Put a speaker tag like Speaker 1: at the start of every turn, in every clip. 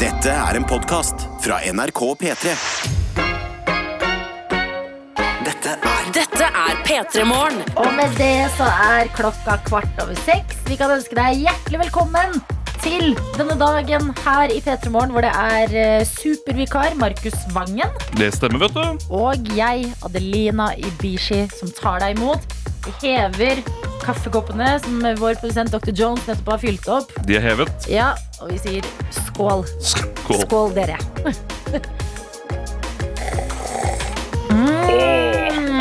Speaker 1: Dette er en podkast fra NRK P3. Dette er
Speaker 2: Dette er P3 Morgen.
Speaker 3: Og med det så er klokka kvart over seks. Vi kan ønske deg hjertelig velkommen til denne dagen her i P3 Morgen, hvor det er eh, supervikar Markus Vangen
Speaker 4: Det stemmer, vet du.
Speaker 3: og jeg, Adelina Ibishi, som tar deg imot. Vi hever kaffekoppene som vår produsent Dr. Jones nettopp har fylt opp.
Speaker 4: De er hevet.
Speaker 3: Ja, og vi sier skål.
Speaker 4: Skål.
Speaker 3: Skål, dere.
Speaker 4: Åh,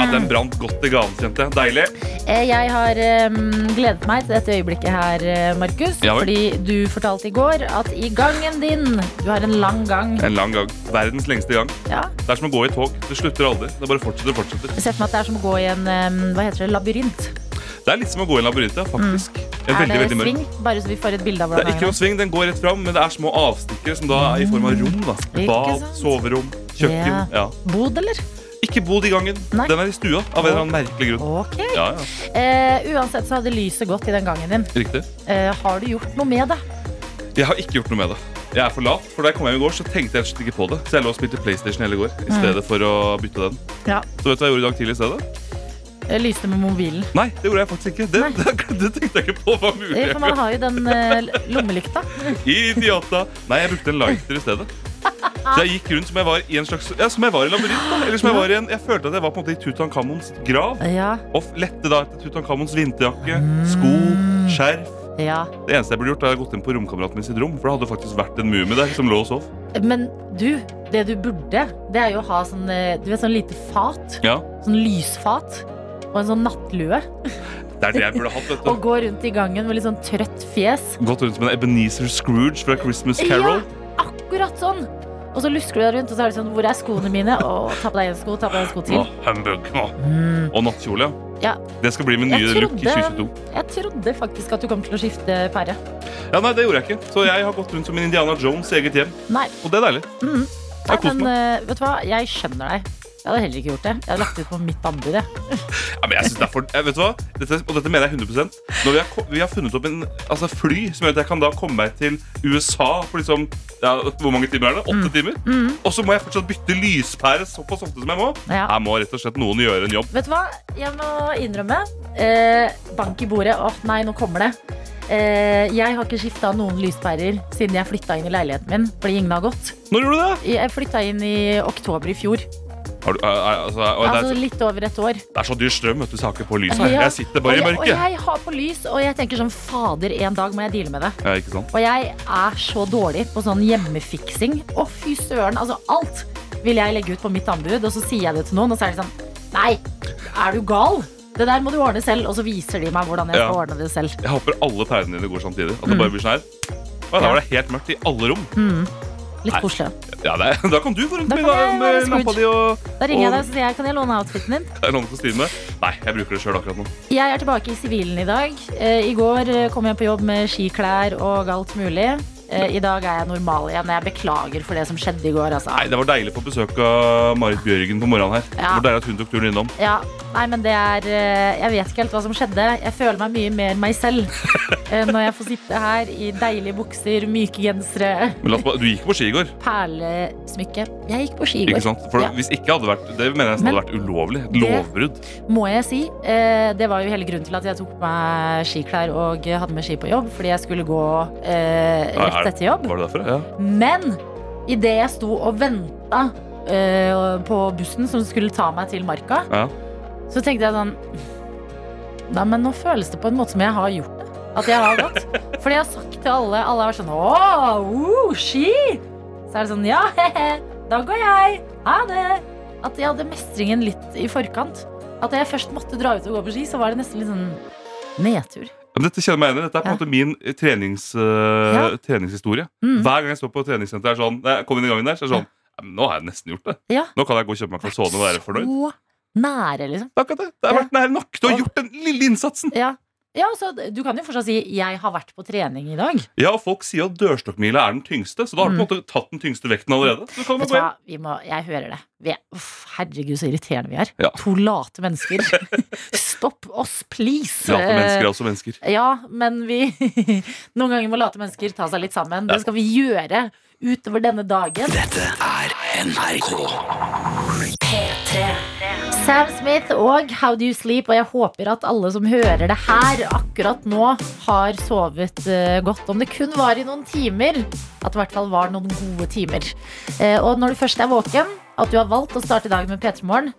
Speaker 4: Ja, den brant godt i ganen, kjente jeg. Deilig.
Speaker 3: Eh, Jeg har eh, gledet meg til dette øyeblikket her, eh, Markus.
Speaker 4: Ja vel.
Speaker 3: fordi du fortalte i går at i gangen din Du har en lang gang.
Speaker 4: En lang gang. Verdens lengste gang.
Speaker 3: Ja.
Speaker 4: Det er som å gå i tog. Det slutter aldri. Det bare fortsetter og fortsetter.
Speaker 3: Jeg ser for meg at det er som å gå i en eh, hva heter det, labyrint.
Speaker 4: Det er litt som å gå i en labyrint, ja, faktisk. En
Speaker 3: Mm. er
Speaker 4: veldig,
Speaker 3: det
Speaker 4: veldig mørk.
Speaker 3: sving? Bare så vi får et bilde av
Speaker 4: Det er
Speaker 3: hvordan
Speaker 4: ikke noen sving, den går rett fram, men det er små avstikkere som da er i form av rom. da.
Speaker 3: Ikke
Speaker 4: Bad,
Speaker 3: sant?
Speaker 4: soverom, kjøkken. Ja.
Speaker 3: Bod, eller?
Speaker 4: Ikke bod i gangen.
Speaker 3: Nei.
Speaker 4: Den er i stua av en eller annen merkelig grunn.
Speaker 3: Ok.
Speaker 4: Ja, ja.
Speaker 3: Eh, uansett så hadde lyset gått i den gangen din.
Speaker 4: Riktig.
Speaker 3: Eh, har du gjort noe med det?
Speaker 4: Jeg har ikke gjort noe med det. Jeg er for lat, for da jeg kom hjem i går, så tenkte jeg rett og slett ikke på det. Så jeg lå og spilte PlayStation hele går i
Speaker 3: Mm.
Speaker 4: stedet for å bytte den.
Speaker 3: Ja.
Speaker 4: Så vet du hva jeg gjorde i dag tidlig i stedet?
Speaker 3: Eh, Lyste med mobilen.
Speaker 4: Nei, det gjorde jeg faktisk ikke. Det, det, det tenkte jeg ikke på var mulig.
Speaker 3: Eh, For man har jo den eh, lommelykta.
Speaker 4: Idiota. Nei, jeg brukte en lighter i stedet. Så jeg gikk rundt som jeg var i en slags Ja, som jeg var i en labyrint. da. Eller som jeg var i en Jeg følte at jeg var på en måte i Tutankhamons grav.
Speaker 3: Ja,
Speaker 4: Og f- lette da etter Tutankhamons vinterjakke, sko, skjerf.
Speaker 3: ja.
Speaker 4: Det eneste jeg burde gjort, er å gått inn på romkameraten min sitt rom. For det hadde faktisk vært en mumie der som lå og sov.
Speaker 3: Men du, det du burde, det er jo å ha sånn, eh, du vet, sånn lite fat.
Speaker 4: Ja,
Speaker 3: Sånn lysfat. Og en sånn nattlue.
Speaker 4: Det er det jeg burde hatt, vet
Speaker 3: Og
Speaker 4: du.
Speaker 3: gå rundt i gangen med litt sånn trøtt fjes.
Speaker 4: Gått rundt som en Ebenezer Scrooge fra Christmas Carol.
Speaker 3: Akkurat sånn. Og så lusker du deg rundt, og så er det sånn Hvor er skoene mine? Og ta på deg en sko, ta på deg en sko
Speaker 4: Nå,
Speaker 3: til.
Speaker 4: humbug. Nå.
Speaker 3: Mm.
Speaker 4: Og nattkjole.
Speaker 3: Ja.
Speaker 4: Det skal bli min nye
Speaker 3: Jeg
Speaker 4: look i
Speaker 3: trodde-
Speaker 4: 2022.
Speaker 3: Jeg trodde faktisk at du kom til å skifte pære.
Speaker 4: Ja, nei, det gjorde jeg ikke. Så jeg har gått rundt som en Indiana Jones i eget hjem.
Speaker 3: Nei.
Speaker 4: Og det er deilig.
Speaker 3: Mm.
Speaker 4: Jeg har kost
Speaker 3: men
Speaker 4: meg.
Speaker 3: eh, vet du hva, jeg skjønner deg. Jeg hadde heller ikke gjort det. Jeg hadde lagt ut på mitt anbud, jeg.
Speaker 4: Ja, men jeg synes det er for... Jeg vet du hva? Dette, og dette mener jeg 100 Når vi har, ko- vi har funnet opp en altså, fly som gjør at jeg kan da komme meg til USA på liksom ja, Hvor mange timer er det?
Speaker 3: Mm.
Speaker 4: Åtte timer? Og så må jeg fortsatt bytte lyspære såpass ofte som jeg må.
Speaker 3: Ja.
Speaker 4: Jeg må rett og slett noen gjøre en jobb.
Speaker 3: Vet du hva, jeg må innrømme. Eh, bank i bordet. Åh, nei, nå kommer det. Eh, jeg har ikke skifta noen lyspærer siden jeg flytta inn i leiligheten min. Fordi ingen har gått.
Speaker 4: Når gjorde du det?
Speaker 3: Jeg flytta inn i oktober i fjor.
Speaker 4: Har du, er- er- altså, og det,
Speaker 3: Altså
Speaker 4: er,
Speaker 3: litt over et år.
Speaker 4: det er så dyr strøm, vet du, så jeg har ikke på lys her.
Speaker 3: Ja.
Speaker 4: Jeg sitter bare
Speaker 3: Og
Speaker 4: i
Speaker 3: jeg, og
Speaker 4: mørket.
Speaker 3: jeg har på lys, og jeg tenker sånn Fader, en dag må jeg deale med det.
Speaker 4: Ja, ikke sant?
Speaker 3: Og jeg er så dårlig på sånn hjemmefiksing. Å, fy søren. Altså, alt vil jeg legge ut på mitt anbud, og så sier jeg det til noen, og så er de sånn Nei, er du gal? Det der må du ordne selv. Og så viser de meg hvordan jeg skal
Speaker 4: Ja.
Speaker 3: ordne det selv.
Speaker 4: Jeg håper alle pærene dine går samtidig.
Speaker 3: Mm.
Speaker 4: At det bare blir sånn her. Å, da var det helt mørkt i alle rom.
Speaker 3: Litt
Speaker 4: Nei.
Speaker 3: koselig.
Speaker 4: Ja, det er, Da kan du gå rundt
Speaker 3: Da
Speaker 4: med,
Speaker 3: kan jeg være
Speaker 4: med
Speaker 3: Scrooge.
Speaker 4: lampa di og
Speaker 3: Da ringer jeg
Speaker 4: Og-
Speaker 3: deg og så sier jeg, kan jeg låne outfiten din.
Speaker 4: Det er noen kostyme. Nei, jeg bruker det sjøl akkurat nå.
Speaker 3: Jeg er tilbake i sivilen i dag. Eh, I går eh, kom jeg på jobb med skiklær og alt mulig. Eh, I dag er jeg normal igjen. Jeg beklager for det som skjedde i går. Altså.
Speaker 4: Nei, Det var deilig å få besøk av Marit Bjørgen på morgenen her. Det
Speaker 3: Ja.
Speaker 4: var deilig at hun tok turen innom.
Speaker 3: Ja, nei, men det er eh, Jeg vet ikke helt hva som skjedde. Jeg føler meg mye mer meg selv eh, når jeg får sitte her i deilige bukser, myke gensere,
Speaker 4: Men la oss bare, Du gikk på ski i går,
Speaker 3: perlesmykke. Jeg gikk på ski i
Speaker 4: ikke
Speaker 3: går,
Speaker 4: sant? For
Speaker 3: Ja.
Speaker 4: hvis ikke hadde vært Det mener jeg nesten
Speaker 3: Men-
Speaker 4: hadde vært ulovlig. Et
Speaker 3: Det-
Speaker 4: lovbrudd.
Speaker 3: må jeg si. Eh, Det var jo hele grunnen til at jeg tok på meg skiklær og eh, hadde med ski på jobb, fordi jeg skulle gå eh,
Speaker 4: Ja, er
Speaker 3: rett
Speaker 4: det-
Speaker 3: etter jobb.
Speaker 4: Var det derfor? Ja.
Speaker 3: Men idet jeg sto og venta på bussen som skulle ta meg til Marka,
Speaker 4: ja.
Speaker 3: så tenkte jeg sånn Nei, men nå føles det på en måte som jeg har gjort det. At jeg har gått. Fordi jeg har sagt til alle Alle har vært sånn Å, uh, ski! Så er det sånn Ja, he-he, da går jeg. Ha det. At jeg hadde mestringen litt i forkant. At da jeg først måtte dra ut og gå på ski, så var det nesten litt sånn nedtur.
Speaker 4: Men dette kjenner jeg meg igjen i. Dette er på en
Speaker 3: Ja.
Speaker 4: måte min trenings, eh,
Speaker 3: Ja.
Speaker 4: treningshistorie.
Speaker 3: Mm.
Speaker 4: Hver gang jeg står på treningssenteret, er sånn, når jeg kommer inn i gangen der, så er det sånn "Ja, men Nå har jeg nesten gjort det.
Speaker 3: Ja.
Speaker 4: Nå kan jeg gå og kjøpe meg calzone og være fornøyd.
Speaker 3: Så nære, liksom.
Speaker 4: Det er akkurat det. Det har
Speaker 3: Ja.
Speaker 4: vært nær nok. Du har gjort den lille innsatsen.
Speaker 3: Ja. Ja, så Du kan jo fortsatt si 'jeg har vært på trening i dag'.
Speaker 4: Ja, og folk sier at dørstokkmila er den tyngste, så da har du på en måte tatt den tyngste vekten allerede. Så kan du
Speaker 3: Mm. Vet du
Speaker 4: gå hjem.
Speaker 3: hva, vi må, Jeg hører det. Vi er, uff, herregud, så irriterende vi er.
Speaker 4: Ja.
Speaker 3: To late mennesker. Stopp oss, please.
Speaker 4: Late mennesker altså.
Speaker 3: Eh,
Speaker 4: er også mennesker.
Speaker 3: Ja, men vi Noen ganger må late mennesker ta seg litt sammen. Det skal vi gjøre utover denne dagen.
Speaker 1: Dette er NRK.
Speaker 3: Sam Smith og How Do You Sleep, og jeg håper at alle som hører det her akkurat nå, har sovet eh, godt. Om det kun var i noen timer, at det i hvert fall var noen gode timer. Eh, og når du først er våken, at du har valgt å starte dagen med P3 Morgen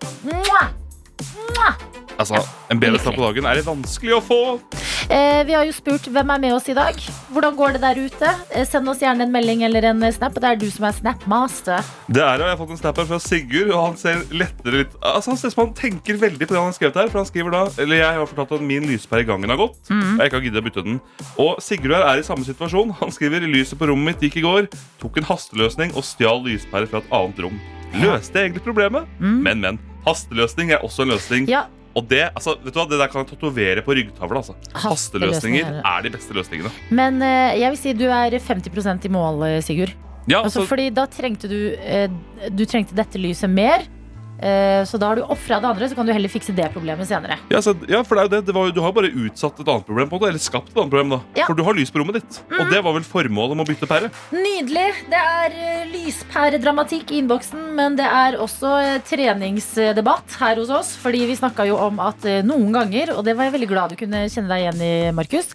Speaker 4: Altså, En bedre start på dagen er det vanskelig å få.
Speaker 3: eh, Vi har jo spurt hvem er med oss i dag. Hvordan går det der ute? Eh, send oss gjerne en melding eller en snap. og Det er du som er snapmaster.
Speaker 4: Det er jo, Jeg har fått en snap her fra Sigurd, og han ser lettere litt Altså, Han ser ut som han tenker veldig på det han har skrevet her. For han skriver da Eller jeg har fortalt at min lyspære i gangen har gått.
Speaker 3: Mm.
Speaker 4: Og jeg ikke har giddet å bytte den. Og Sigurd her er i samme situasjon. Han skriver lyset på rommet mitt gikk i går. Tok en hasteløsning og stjal lyspære fra et annet rom. Løste egentlig problemet,
Speaker 3: Mm.
Speaker 4: men, men. Hasteløsning er også en løsning.
Speaker 3: Ja,
Speaker 4: Og det, altså, vet du hva, det der kan jeg tatovere på ryggtavla. Altså. Hasteløsninger er de beste løsningene.
Speaker 3: Men eh, jeg vil si du er 50 i mål, eh, Sigurd.
Speaker 4: Ja,
Speaker 3: Altså,
Speaker 4: altså,
Speaker 3: fordi da trengte du eh, Du trengte dette lyset mer. eh, Så da har du ofra det andre, så kan du heller fikse det problemet senere.
Speaker 4: ja, så, ja, for det er jo det. det var, jo- du har bare utsatt et annet problem, på en måte, eller skapt et annet problem. da
Speaker 3: Ja. Mm.
Speaker 4: For du har lys på rommet ditt. Og det var vel formålet med å bytte pære.
Speaker 3: Nydelig! Det er eh, lyspæredramatikk i innboksen, men det er også eh, treningsdebatt her hos oss. Fordi vi snakka jo om at eh, noen ganger, og det var jeg veldig glad du kunne kjenne deg igjen i, Markus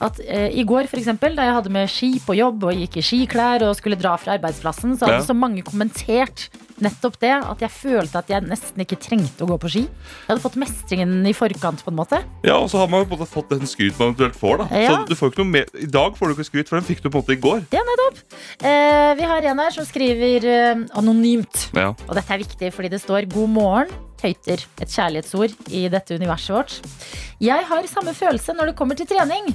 Speaker 3: At eh, i går, for eksempel, da jeg hadde med ski på jobb og gikk i skiklær og skulle dra fra arbeidsplassen, så hadde
Speaker 4: Ja.
Speaker 3: så mange kommentert nettopp det at jeg følte at jeg nesten ikke trengte å gå på ski. Jeg hadde fått mestringen i forkant, på en måte.
Speaker 4: Ja, Og så har man på en måte fått den skryt man eventuelt får. da
Speaker 3: Ja.
Speaker 4: Så du får ikke noe mer I dag får du ikke skryt, for den fikk du på en måte i går.
Speaker 3: Ja, nettopp. Eh, vi har en her som skriver eh, anonymt.
Speaker 4: Ja,
Speaker 3: Og dette er viktig fordi det står 'God morgen', tøyter, et kjærlighetsord i dette universet vårt. Jeg har samme følelse når det kommer til trening.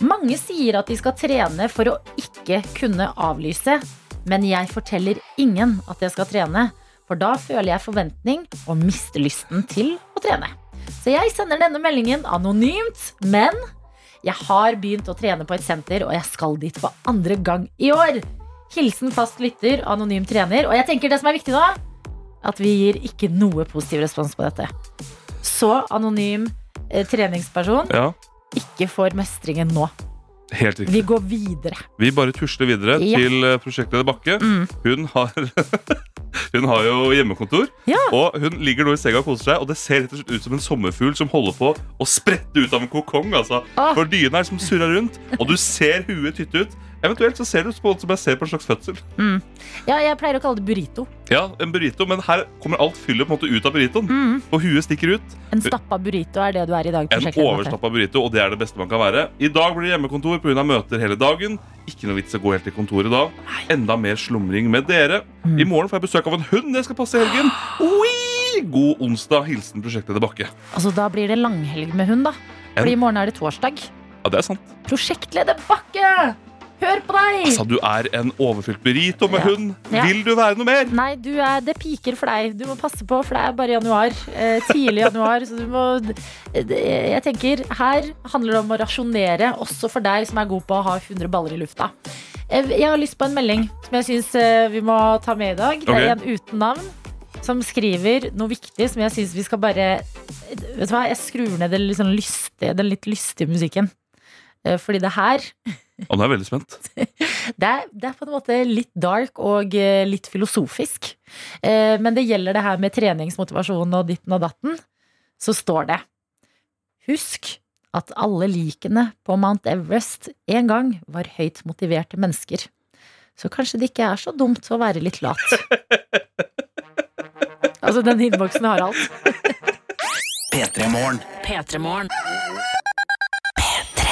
Speaker 3: Mange sier at de skal trene for å ikke kunne avlyse, men jeg forteller ingen at jeg skal trene, for da føler jeg forventning og mister lysten til å trene. Så jeg sender denne meldingen anonymt, men jeg har begynt å trene på et senter, og jeg skal dit for andre gang i år. Hilsen fast lytter, anonym trener. Og jeg tenker det som er viktig nå, at vi gir ikke noe positiv respons på dette. Så anonym eh, treningsperson
Speaker 4: ja
Speaker 3: ikke får mestringen nå.
Speaker 4: Helt riktig.
Speaker 3: Vi går videre.
Speaker 4: Vi bare tusler videre
Speaker 3: Ja.
Speaker 4: til eh, prosjektleder Bakke.
Speaker 3: Mm.
Speaker 4: Hun har Hun har jo hjemmekontor,
Speaker 3: Ja.
Speaker 4: og hun ligger nå i senga og koser seg. Og det ser rett og slett ut som en sommerfugl som holder på å sprette ut av en kokong. Altså.
Speaker 3: Ah.
Speaker 4: For dyna er som surrer rundt, og du ser huet tytte ut. Eventuelt så ser det ut som- som jeg ser på en slags fødsel.
Speaker 3: Ja, jeg pleier å kalle det burrito.
Speaker 4: Ja, en burrito, Men her kommer alt fyllet på en måte ut av burritoen. Og huet stikker ut.
Speaker 3: En stappa burrito er det du er i dag.
Speaker 4: En
Speaker 3: prosjektleder.
Speaker 4: overstappa burrito, og det er det beste man kan være. I dag blir det hjemmekontor pga. møter hele dagen. Ikke noe vits å gå helt til kontoret da. Enda mer slumring med dere. I morgen får jeg besøk av en hund jeg skal passe i helgen. Oi! God onsdag. Hilsen prosjektet Bakke.
Speaker 3: Altså, da blir det langhelg med hund, da.
Speaker 4: En-
Speaker 3: Fordi i morgen er det torsdag.
Speaker 4: Ja, det er sant.
Speaker 3: Prosjektleder Bakke! Hør på deg!
Speaker 4: Altså, du er en overfylt burrito med
Speaker 3: Ja.
Speaker 4: hund.
Speaker 3: Ja.
Speaker 4: Vil du være noe mer?
Speaker 3: Nei, du er, det piker for deg. Du må passe på, for det er bare januar. Eh, tidlig januar. Så du må det- Jeg tenker, her handler det om å rasjonere, også for deg som er god på å ha 100 baller i lufta. Eh, Jeg har lyst på en melding som jeg syns eh, vi må ta med i dag. Det
Speaker 4: Ok.
Speaker 3: er en uten navn som skriver noe viktig som jeg syns vi skal bare Vet du hva, jeg skrur ned det litt sånn lystige, den litt lystige musikken. Eh, Fordi det her
Speaker 4: Å, nå er jeg veldig spent.
Speaker 3: det er, det er på en måte litt dark og eh, litt filosofisk. Eh, men det gjelder det her med treningsmotivasjon og ditten og datten. Så står det Husk at alle likene på Mount Everest en gang var høyt motiverte mennesker. Så kanskje det ikke er så dumt å være litt lat. altså, den innboksen har alt.
Speaker 1: P3 Morgen.
Speaker 2: P3morgen.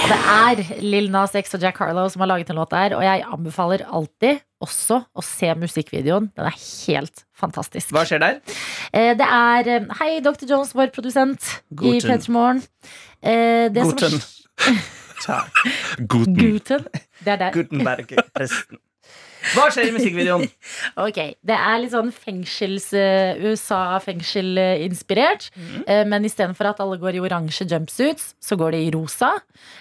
Speaker 3: Det er Lil Nas X og Jack Harlow som har laget en låt der, og jeg anbefaler alltid også å se musikkvideoen. Den er helt fantastisk.
Speaker 5: Hva skjer der?
Speaker 3: Eh, Det er eh, Hei, Dr. Jones, vår produsent i
Speaker 5: Guten.
Speaker 3: P3 Morgen. Eh, det som-
Speaker 5: Guten. Takk.
Speaker 4: Guten.
Speaker 3: Guten. Det er der.
Speaker 5: Gutenberg-presten. Hva skjer i musikkvideoen?
Speaker 3: Ok, Det er litt sånn eh, USA-fengsel-inspirert. Eh, men istedenfor at alle går i oransje jumpsuits, så går de i rosa.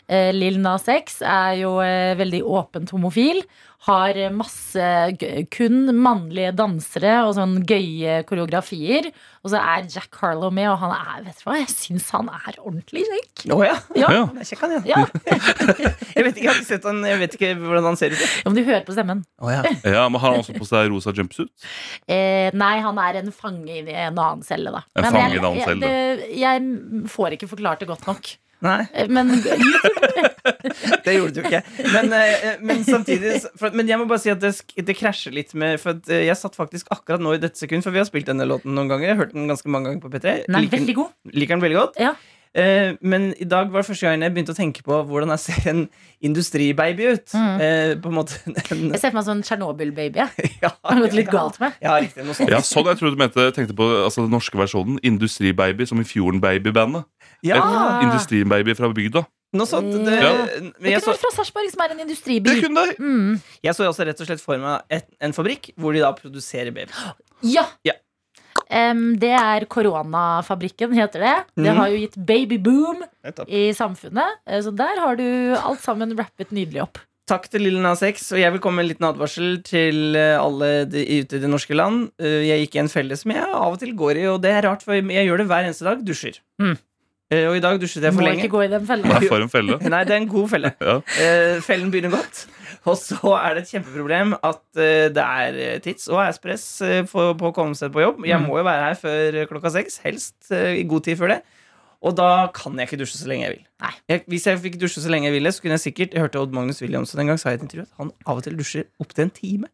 Speaker 3: Eh, Lil Nas X er jo eh, veldig åpent homofil. Har eh, masse g kun mannlige dansere og sånn gøye koreografier. Og så er Jack Harlow med, og han er, vet du hva, jeg syns han er ordentlig kjekk.
Speaker 5: Å ja.
Speaker 3: Ja,
Speaker 4: Ja.
Speaker 5: Han er kjekk, han, ja.
Speaker 3: ja.
Speaker 5: Jeg vet ikke, jeg har ikke sett han, jeg vet ikke hvordan han ser ut. jeg.
Speaker 3: Om du hører på stemmen.
Speaker 5: Å ja.
Speaker 4: Ja, men Har han også på seg rosa jumpsuit?
Speaker 3: Eh, nei, han er en fange i en annen celle, da.
Speaker 4: En
Speaker 3: Men
Speaker 4: fange i
Speaker 3: jeg-
Speaker 4: en annen celle.
Speaker 3: Jeg, det, jeg får ikke forklart det godt nok.
Speaker 5: Nei,
Speaker 3: Eh, Men
Speaker 5: det gjorde du ikke. Men, eh, men samtidig for, Men jeg må bare si at det, sk- det krasjer litt med For at eh, jeg satt faktisk akkurat nå i dette sekund, for vi har spilt denne låten noen ganger. Jeg har hørt den ganske mange ganger på P3.
Speaker 3: den er
Speaker 5: Liker den-
Speaker 3: veldig god.
Speaker 5: Liker den veldig godt.
Speaker 3: Ja.
Speaker 5: Eh, men i dag var det første gangen jeg begynte å tenke på hvordan jeg ser en industribaby ut.
Speaker 3: Mm.
Speaker 5: Eh, på en måte en,
Speaker 3: Jeg ser for meg sånn Tsjernobyl-baby. jeg.
Speaker 5: ja,
Speaker 3: Det har gått litt galt med.
Speaker 5: Ja, riktig. Noe sånt.
Speaker 4: Ja, sånn jeg trodde du mente, tenkte på altså, den norske versjonen. Industribaby som i Fjorden-baby-bandet.
Speaker 5: Ja,
Speaker 3: Ah.
Speaker 4: Industribaby fra bygda.
Speaker 5: noe sånt. Det,
Speaker 4: Ja.
Speaker 5: men
Speaker 3: Mm. Det kunne
Speaker 5: jeg, så,
Speaker 3: vært fra Sarpsborg, som er en
Speaker 4: Det
Speaker 3: industriby.
Speaker 4: kunne deg!
Speaker 3: Mm.
Speaker 5: jeg så også rett og slett for meg et, en fabrikk hvor de da produserer baby.
Speaker 3: Ja.
Speaker 5: Ja.
Speaker 3: Em, det er koronafabrikken, heter det. Det
Speaker 5: Mhm.
Speaker 3: har jo gitt babyboom
Speaker 5: Nettopp.
Speaker 3: i samfunnet. eh, Så der har du alt sammen rappet nydelig opp.
Speaker 5: Takk til Lille Nas X, og jeg vil komme med en liten advarsel til eh, alle de, ute i det norske land. Eh, Jeg gikk i en felle som jeg av og til går i, og det er rart, for jeg gjør det hver eneste dag. Dusjer.
Speaker 3: Mm.
Speaker 5: Eh, Og i dag dusjet jeg
Speaker 3: Må
Speaker 5: for
Speaker 3: ikke
Speaker 5: lenge.
Speaker 3: gå i den fella.
Speaker 4: Nei, for en felle.
Speaker 5: Nei, det er en god felle.
Speaker 4: Ja.
Speaker 5: Eh, fellen begynner godt. Og så er det et kjempeproblem at eh, det er eh, tids- og ærespress eh, for- på å komme seg på jobb.
Speaker 3: Mm.
Speaker 5: Jeg må jo være her før eh, klokka seks, helst eh, i god tid før det. Og da kan jeg ikke dusje så lenge jeg vil.
Speaker 3: Nei.
Speaker 5: Jeg, hvis jeg fikk dusje så lenge jeg ville, så kunne jeg sikkert Jeg hørte Odd Magnus Williamson en gang sa i et intervju at han av og til dusjer opptil en time.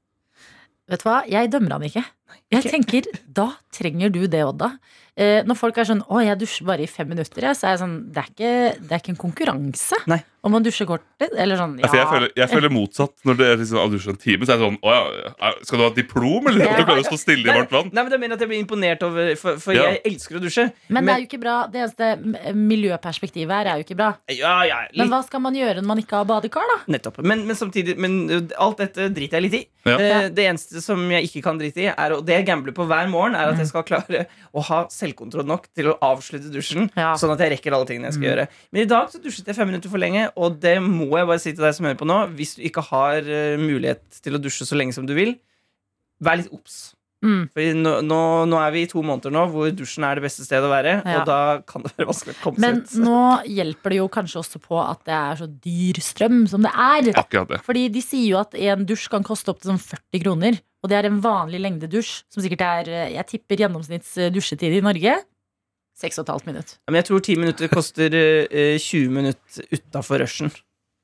Speaker 3: Vet du hva, jeg dømmer han ikke. Jeg tenker, da trenger du det, Odda. Eh, når folk er sånn 'Å, jeg dusjer bare i fem minutter', jeg, så er jeg sånn Det er ikke, det er ikke en konkurranse
Speaker 5: Nei.
Speaker 3: om å dusje kort. Eller sånn,
Speaker 4: Altså, jeg,
Speaker 3: ja.
Speaker 4: føler, jeg føler motsatt. Når det er liksom, av dusjen en time, så er det sånn Å ja, er- skal du ha diplom, eller?
Speaker 3: Ja.
Speaker 4: Du klarer å stå stille i varmt vann?
Speaker 5: Nei, men det er mer at jeg blir imponert over For, for
Speaker 4: Ja.
Speaker 5: jeg elsker å dusje.
Speaker 3: Men det er jo ikke bra. Det eneste m- miljøperspektivet her er jo ikke bra.
Speaker 5: ja, ja, litt
Speaker 3: Men hva skal man gjøre når man ikke har badekar, da?
Speaker 5: Nettopp. Men, men samtidig Men ø, alt dette driter jeg litt i.
Speaker 4: Ja.
Speaker 5: Eh, det eneste som jeg ikke kan drite i, er, og det jeg gambler på hver morgen, er
Speaker 3: Mm.
Speaker 5: at jeg skal klare å ha selvkontroll nok til å avslutte dusjen.
Speaker 3: Ja.
Speaker 5: Sånn at jeg rekker alle tingene jeg skal gjøre. Men i dag så dusjet jeg fem minutter for lenge, og det må jeg bare si til deg som hører på nå. Hvis du ikke har eh, mulighet til å dusje så lenge som du vil, vær litt obs.
Speaker 3: Mm.
Speaker 5: For nå, nå, nå er vi i to måneder nå hvor dusjen er det beste stedet å være.
Speaker 3: Ja.
Speaker 5: Og da kan det være vanskelig å komme
Speaker 3: Men
Speaker 5: seg ut.
Speaker 3: nå hjelper det jo kanskje også på at det er så dyr strøm som det er.
Speaker 4: Akkurat det.
Speaker 3: Fordi de sier jo at en dusj kan koste opptil sånn 40 kroner. Og det er en vanlig lengdedusj, som sikkert er eh, Jeg tipper gjennomsnitts eh, dusjetid i Norge 6,5 minutt.
Speaker 5: Ja, Men jeg tror 10 minutter koster eh, eh, 20 minutter utafor rushen.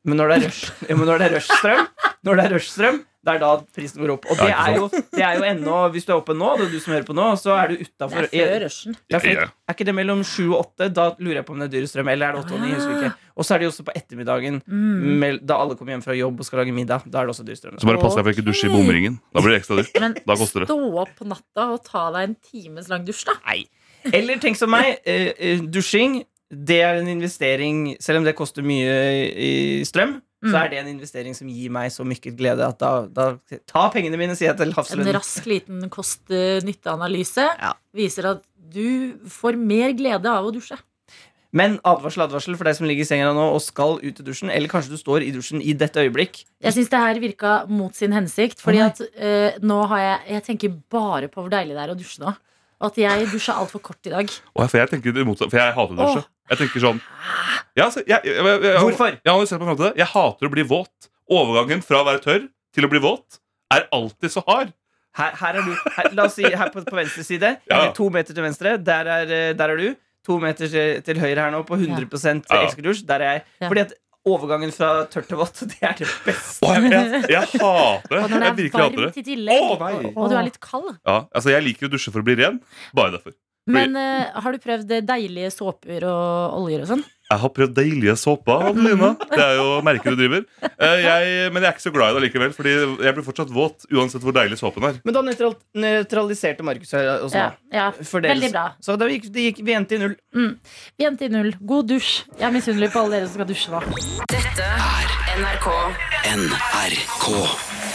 Speaker 5: Men når det er rush, ja, men når det er rushstrøm, når det er rushstrøm, det er da prisen går opp. Og det
Speaker 4: Ja,
Speaker 5: er
Speaker 4: ikke
Speaker 5: jo, det er jo ennå, hvis du er oppe nå, det er du som hører på nå, så er du utafor
Speaker 3: rushen.
Speaker 5: Ja, for
Speaker 4: Ja.
Speaker 5: Er ikke det mellom sju og åtte? Da lurer jeg på om det er dyrestrøm. Eller er det åtte og ni? Jeg husker ikke. Og så er det jo også på ettermiddagen,
Speaker 3: Mm.
Speaker 5: mel- da alle kommer hjem fra jobb og skal lage middag. Da er det også dyrestrøm.
Speaker 4: Så bare pass deg for ikke å dusje i bomringen. Da blir det ekstra dyrt.
Speaker 3: Men
Speaker 4: Da koster det.
Speaker 3: stå opp på natta og ta deg en times lang dusj, da.
Speaker 5: Nei. Eller tenk som meg, eh, eh, dusjing det er en investering Selv om det koster mye i strøm, så
Speaker 3: Mm.
Speaker 5: er det en investering som gir meg så mye glede at da, da Ta pengene mine, sier jeg til
Speaker 3: En
Speaker 5: Hafslund.
Speaker 3: rask liten kost-nytte-analyse
Speaker 5: Ja.
Speaker 3: viser at du får mer glede av å dusje.
Speaker 5: Men advarsel, advarsel for deg som ligger i senga nå og skal ut i dusjen, eller kanskje du står i dusjen i dette øyeblikk.
Speaker 3: Jeg syns det her virka mot sin hensikt. Fordi
Speaker 5: Å, nei.
Speaker 3: at eh, nå har jeg Jeg tenker bare på hvor deilig det er å dusje nå. Og at jeg dusja altfor kort i dag.
Speaker 4: Å, for jeg tenker det motsatte. For jeg hater å dusje.
Speaker 3: Åh.
Speaker 4: Jeg tenker sånn ja, altså, jeg, jeg, jeg, jeg,
Speaker 5: Hvorfor?
Speaker 4: Jeg, har analysert på en måte det. jeg hater å bli våt. Overgangen fra å være tørr til å bli våt er alltid så hard.
Speaker 5: Her, her er du. Her, la oss si her på, på venstre side.
Speaker 4: Ja.
Speaker 5: To meter til venstre. Der er, eh, der er du. To meter til, til høyre her nå, på 100
Speaker 4: Ja.
Speaker 5: elsker dusj. Der er jeg.
Speaker 3: Ja.
Speaker 5: Fordi at overgangen fra tørt til vått, det er det beste.
Speaker 4: Åh, jeg, jeg, jeg hater det.
Speaker 3: Og når
Speaker 4: Jeg
Speaker 3: det er
Speaker 4: virkelig hater det.
Speaker 3: varmt i tillegg,
Speaker 4: Å, nei.
Speaker 3: og du er litt kald.
Speaker 4: Ja, altså, jeg liker å dusje for å bli ren. Bare derfor.
Speaker 3: Men eh, har du prøvd eh, deilige såper og oljer og sånn?
Speaker 4: Jeg har prøvd deilige såper, Adelina. Det er jo merket du driver. Eh, Jeg, men jeg er ikke så glad i det likevel, Fordi jeg blir fortsatt våt uansett hvor deilig såpen er.
Speaker 5: Men da nøytral, nøytraliserte Markus her oss nå.
Speaker 3: Ja, ja.
Speaker 5: For dere-
Speaker 3: Veldig bra.
Speaker 5: Så da gikk, det gikk vi endte i null.
Speaker 3: Jente i null. God dusj. Jeg er misunnelig på alle dere som skal dusje nå.
Speaker 2: Dette er NRK
Speaker 1: NRK.